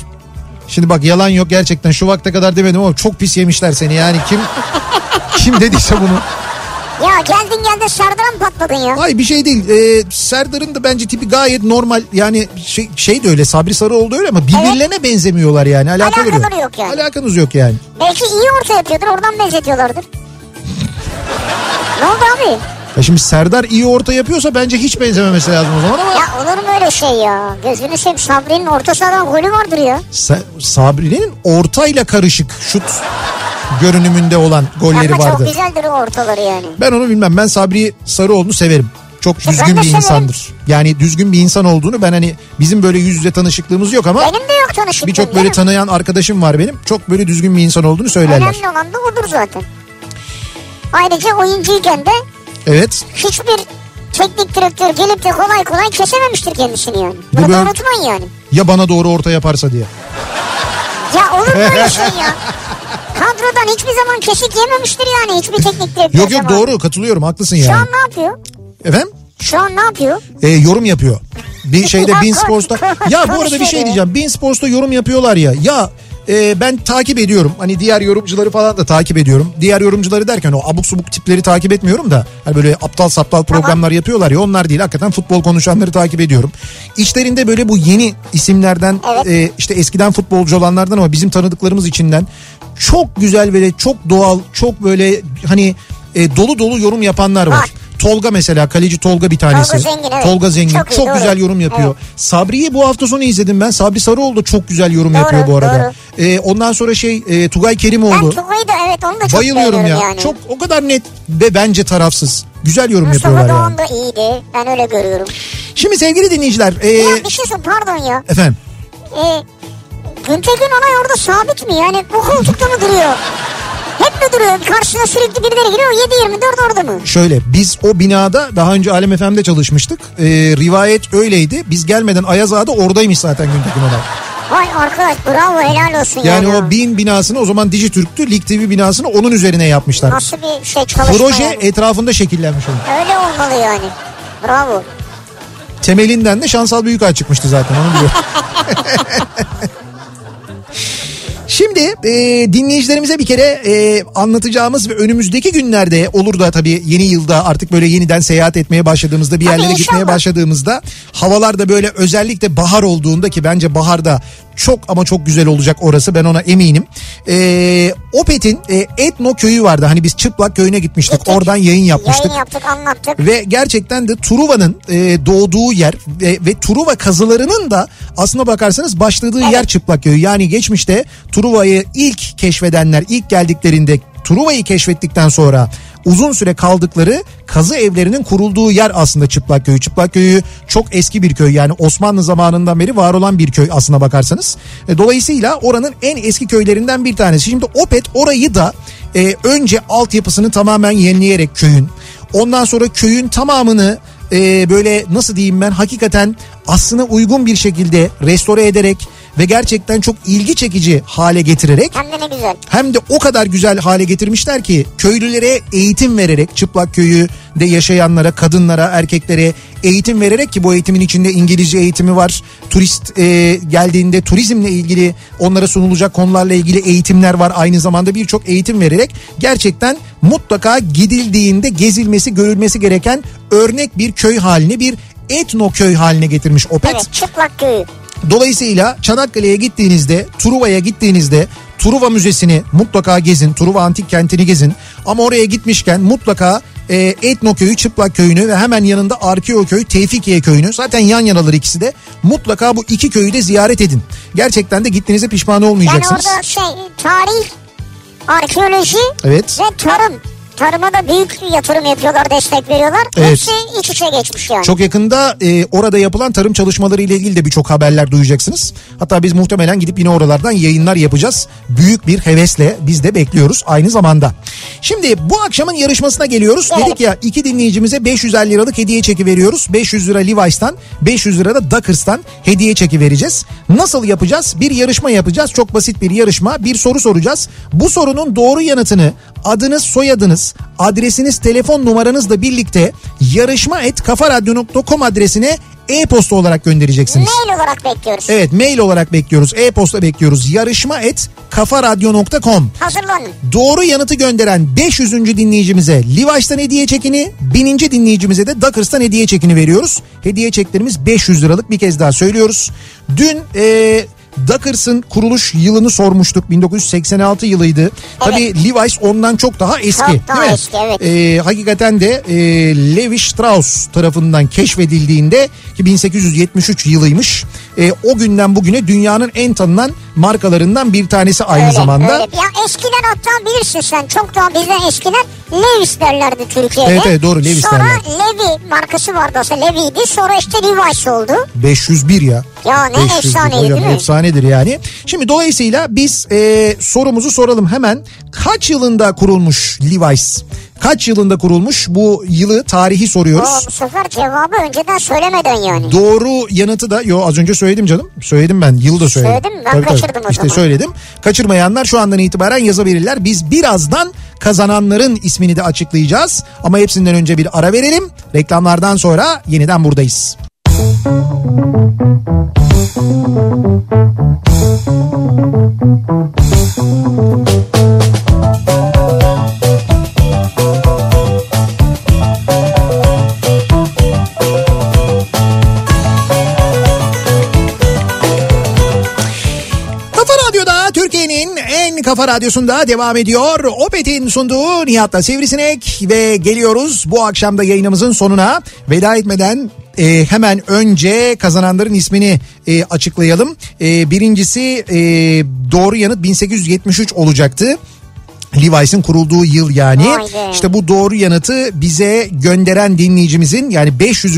S1: şimdi bak yalan yok gerçekten şu vakte kadar demedim ama çok pis yemişler seni yani kim kim dediyse bunu.
S2: Ya geldin geldin Serdar'a mı patladın ya?
S1: Ay bir şey değil Ee, Serdar'ın da bence tipi gayet normal yani şey, şey de öyle Sabri Sarıoğlu da öyle ama birbirlerine benzemiyorlar yani alakaları,
S2: Alakaları yok yani.
S1: Alakanız yok yani.
S2: Belki iyi orta yapıyordur oradan benzetiyorlardır. ne oldu abi?
S1: Ya şimdi Serdar iyi orta yapıyorsa bence hiç benzememesi lazım o zaman ama
S2: Ya olur mu öyle şey ya? Gözünü seveyim Sabri'nin orta sahadan golü vardır ya.
S1: Sa- Sabri'nin ortayla karışık şut görünümünde olan golleri
S2: Ama
S1: vardı.
S2: çok güzeldir o ortaları yani.
S1: Ben onu bilmem. Ben Sabri Sarıoğlu'nu severim. Çok
S2: ben
S1: düzgün
S2: de
S1: bir
S2: severim.
S1: insandır. Yani düzgün bir insan olduğunu ben hani bizim böyle yüz yüze tanışıklığımız yok ama
S2: Benim de yok tanışıklığım.
S1: birçok
S2: canım.
S1: böyle tanıyan arkadaşım var benim. Çok böyle düzgün bir insan olduğunu söylerler.
S2: Önemli olan da odur zaten. Ayrıca oyuncuyken de
S1: Evet.
S2: hiçbir teknik direktör gelip de kolay kolay kesememiştir kendisini yani. Bunu
S1: böyle-
S2: da unutmayın yani.
S1: Ya bana doğru orta yaparsa diye.
S2: Ya olur mu öyle şey ya? Kadrodan hiçbir zaman kesik yememiştir yani hiçbir teknik direktör.
S1: Yok yok
S2: zamanında.
S1: doğru katılıyorum haklısın
S2: Şu
S1: yani.
S2: an ne yapıyor?
S1: Efendim?
S2: Şu an ne yapıyor?
S1: E, yorum yapıyor. Bir şeyde
S2: Ya
S1: Bin
S2: konuş-
S1: Sports'ta. Ya bu arada bir şey
S2: konuşuyor.
S1: diyeceğim. Bin Sports'ta yorum yapıyorlar ya. Ya e, ben takip ediyorum. Hani diğer yorumcuları falan da takip ediyorum. Diğer yorumcuları derken o abuk subuk tipleri takip etmiyorum da. Hani böyle aptal saptal programlar yapıyorlar ya. Onlar değil. Hakikaten futbol konuşanları takip ediyorum. İçlerinde böyle bu yeni isimlerden
S2: Evet.
S1: e, işte eskiden futbolcu olanlardan ama bizim tanıdıklarımız içinden çok güzel böyle çok doğal çok böyle hani e, dolu dolu yorum yapanlar var.
S2: Var.
S1: Tolga mesela kaleci Tolga bir tanesi.
S2: Zengin, evet.
S1: Tolga Zengin
S2: Çok
S1: çok,
S2: iyi, doğru.
S1: güzel yorum yapıyor. Sabri'yi bu hafta sonu izledim ben. Sabri Sarıoğlu da çok güzel yorum
S2: Doğru,
S1: yapıyor bu arada. Ee, ondan sonra şey e, Tugay
S2: Ben
S1: Kerimoğlu.
S2: Tugay'ı da evet onu da çok
S1: Bayılıyorum ya.
S2: beğeniyorum yani.
S1: Çok o kadar net ve bence tarafsız. Güzel yorum
S2: Mustafa
S1: yapıyorlar yani.
S2: Doğan da iyiydi. Ben öyle görüyorum.
S1: Şimdi sevgili dinleyiciler. e,
S2: Ya bir şey sor- pardon ya.
S1: efendim.
S2: Ee, Güntekin Onay orada sabit mi? Yani bu koltukta mı duruyor? Hep mi duruyor? Karşına sürekli birileri giriyor. 7-24 orada mı?
S1: Şöyle biz o binada daha önce Alem FM'de çalışmıştık. Ee, rivayet öyleydi. Biz gelmeden Ayaz Ağa'da oradaymış zaten Güntekin Onay.
S2: Vay arkadaş bravo helal olsun
S1: Yani
S2: yani.
S1: o bin binasını o zaman Dijitürk'tü. Lig TV binasını onun üzerine yapmışlar.
S2: Nasıl bir şey çalışma
S1: Proje
S2: yani.
S1: etrafında şekillenmiş onun.
S2: Öyle olmalı yani. Bravo.
S1: Temelinden de Şansal Büyükay çıkmıştı zaten onu biliyorum. Şimdi e, dinleyicilerimize bir kere e, anlatacağımız ve önümüzdeki günlerde olur da tabii yeni yılda artık böyle yeniden seyahat etmeye başladığımızda bir
S2: Tabii
S1: yerlere gitmeye
S2: inşallah.
S1: başladığımızda havalar da böyle özellikle bahar olduğunda ki bence baharda çok ama çok güzel olacak orası ben ona eminim. E, Opet'in e, Etno köyü vardı hani biz Çıplak köyüne gitmiştik
S2: Gittik.
S1: oradan yayın yapmıştık.
S2: Yayın yaptık anlattık.
S1: Ve gerçekten de Truva'nın e, doğduğu yer ve, ve Truva kazılarının da aslına bakarsanız başladığı yer Çıplakköy'ü. Yani geçmişte Truva'yı ilk keşfedenler ilk geldiklerinde Truva'yı keşfettikten sonra uzun süre kaldıkları kazı evlerinin kurulduğu yer aslında Çıplakköy'ü. Çıplakköy'ü çok eski bir köy yani Osmanlı zamanından beri var olan bir köy aslına bakarsanız. E, Dolayısıyla oranın en eski köylerinden bir tanesi. Şimdi Opet orayı da e, önce altyapısını tamamen yenileyerek köyün Ondan sonra köyün tamamını e, böyle nasıl diyeyim ben hakikaten aslına uygun bir şekilde restore ederek ve gerçekten çok ilgi çekici hale getirerek
S2: Hem de ne güzel.
S1: hem de o kadar güzel hale getirmişler ki köylülere eğitim vererek çıplak köyü de yaşayanlara, kadınlara, erkeklere eğitim vererek ki bu eğitimin içinde İngilizce eğitimi var. Turist e, geldiğinde turizmle ilgili onlara sunulacak konularla ilgili eğitimler var. Aynı zamanda birçok eğitim vererek gerçekten mutlaka gidildiğinde gezilmesi, görülmesi gereken örnek bir köy haline, bir etno köy haline getirmiş Opet.
S2: Evet çıplak köyü.
S1: Dolayısıyla Çanakkale'ye gittiğinizde, Truva'ya gittiğinizde Truva Müzesi'ni mutlaka gezin. Truva Antik Kenti'ni gezin. Ama oraya gitmişken mutlaka e, Etno Köyü, Çıplak Köyü'nü ve hemen yanında Arkeo Köyü, Tevfikiye Köyü'nü. Zaten yan yanalar ikisi de. Mutlaka bu iki köyü de ziyaret edin. Gerçekten de gittiğinizde pişman
S2: Yani
S1: olmayacaksınız.
S2: orada şey tarih, arkeoloji
S1: Evet.
S2: ve tarım. Tarıma da büyük yatırım yapıyorlar, destek veriyorlar.
S1: Evet.
S2: Hepsi iç içe geçmiş yani.
S1: Çok yakında e, orada yapılan tarım çalışmaları ile ilgili de birçok haberler duyacaksınız. Hatta biz muhtemelen gidip yine oralardan yayınlar yapacağız. Büyük bir hevesle biz de bekliyoruz aynı zamanda. Şimdi bu akşamın yarışmasına geliyoruz.
S2: Evet.
S1: Dedik ya iki dinleyicimize 550 liralık hediye çeki veriyoruz. 500 lira Levi's'tan 500 lira da Duckers'tan hediye çeki vereceğiz. Nasıl yapacağız? Bir yarışma yapacağız. Çok basit bir yarışma. Bir soru soracağız. Bu sorunun doğru yanıtını adınız, soyadınız, adresiniz, telefon numaranızla birlikte yarışma et kafaradyo.com adresine e-posta olarak göndereceksiniz.
S2: Mail olarak bekliyoruz.
S1: Evet mail olarak bekliyoruz. E-posta bekliyoruz. Yarışma et kafaradyo.com.
S2: Hazırlanın.
S1: Doğru yanıtı gönderen 500. dinleyicimize Livaş'tan hediye çekini, 1000. dinleyicimize de Duckers'tan hediye çekini veriyoruz. Hediye çeklerimiz 500 liralık bir kez daha söylüyoruz. Dün eee Duckers'ın kuruluş yılını sormuştuk. 1986 yılıydı. Tabii Levi's ondan çok daha eski.
S2: Çok daha
S1: değil mi?
S2: eski, evet.
S1: Ee, hakikaten de e, Levi Strauss tarafından keşfedildiğinde ki 1873 yılıymış. E, o günden bugüne dünyanın en tanınan markalarından bir tanesi aynı
S2: Öyle,
S1: zamanda.
S2: öyle. Ya eskiden hatta bilirsin sen çok daha bizden eskiden Levi's derlerdi Türkiye'de.
S1: Evet, evet, doğru, Levi's
S2: Sonra
S1: derler.
S2: Levi markası vardı olsa Levi'ydi sonra işte Levi's oldu.
S1: 501 ya.
S2: Ya ne
S1: 501
S2: efsaneydi
S1: hocam,
S2: değil mi?
S1: Efsanedir yani. Şimdi dolayısıyla biz e, sorumuzu soralım hemen. Kaç yılında kurulmuş Levi's? Kaç yılında kurulmuş? Bu yılı tarihi soruyoruz.
S2: Aa, bu sefer cevabı önceden söylemeden yani.
S1: Doğru yanıtı da yo az önce söyledim canım. Söyledim ben. Yılı da söyledim.
S2: Söyledin mi? Ben kaçırdım o
S1: işte
S2: zaman.
S1: söyledim. Kaçırmayanlar şu andan itibaren yazabilirler. Biz birazdan kazananların ismini de açıklayacağız. Ama hepsinden önce bir ara verelim. Reklamlardan sonra yeniden buradayız. Kafa Radyo'da Türkiye'nin en kafa radyosunda devam ediyor. Opet'in sunduğu Nihat'la Sivrisinek ve geliyoruz bu akşamda yayınımızın sonuna. Veda etmeden e, hemen önce kazananların ismini e, açıklayalım. E, birincisi e, doğru yanıt 1873 olacaktı. Levi's'in kurulduğu yıl yani.
S2: Vay be.
S1: İşte bu doğru yanıtı bize gönderen dinleyicimizin yani 500.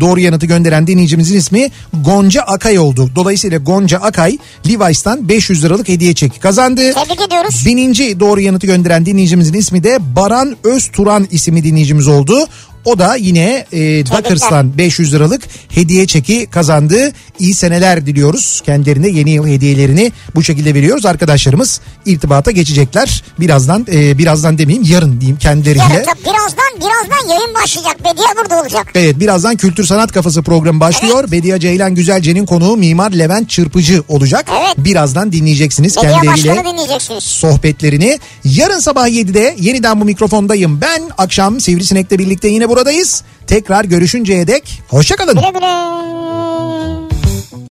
S1: doğru yanıtı gönderen dinleyicimizin ismi Gonca Akay oldu. Dolayısıyla Gonca Akay Levi's'tan 500 liralık hediye çeki kazandı.
S2: Tebrik ediyoruz.
S1: Bininci doğru yanıtı gönderen dinleyicimizin ismi de Baran Özturan isimli dinleyicimiz oldu. O da yine e, Duckers'tan 500 liralık hediye çeki kazandı. İyi seneler diliyoruz. Kendilerine yeni yıl hediyelerini bu şekilde veriyoruz. Arkadaşlarımız irtibata geçecekler. Birazdan e, birazdan demeyeyim yarın diyeyim kendileriyle.
S2: Yarın tabii birazdan birazdan yayın başlayacak. Bediye burada olacak.
S1: Evet birazdan Kültür Sanat Kafası programı başlıyor. Bediye Ceylan Güzelce'nin konuğu Mimar Levent Çırpıcı olacak.
S2: Evet.
S1: Birazdan dinleyeceksiniz
S2: Bediye
S1: kendileriyle.
S2: başkanı dinleyeceksiniz.
S1: sohbetlerini. Yarın sabah 7'de yeniden bu mikrofondayım. Ben akşam Sivrisinek'le birlikte yine buradayız. Tekrar görüşünceye dek hoşçakalın.
S2: Güle güle.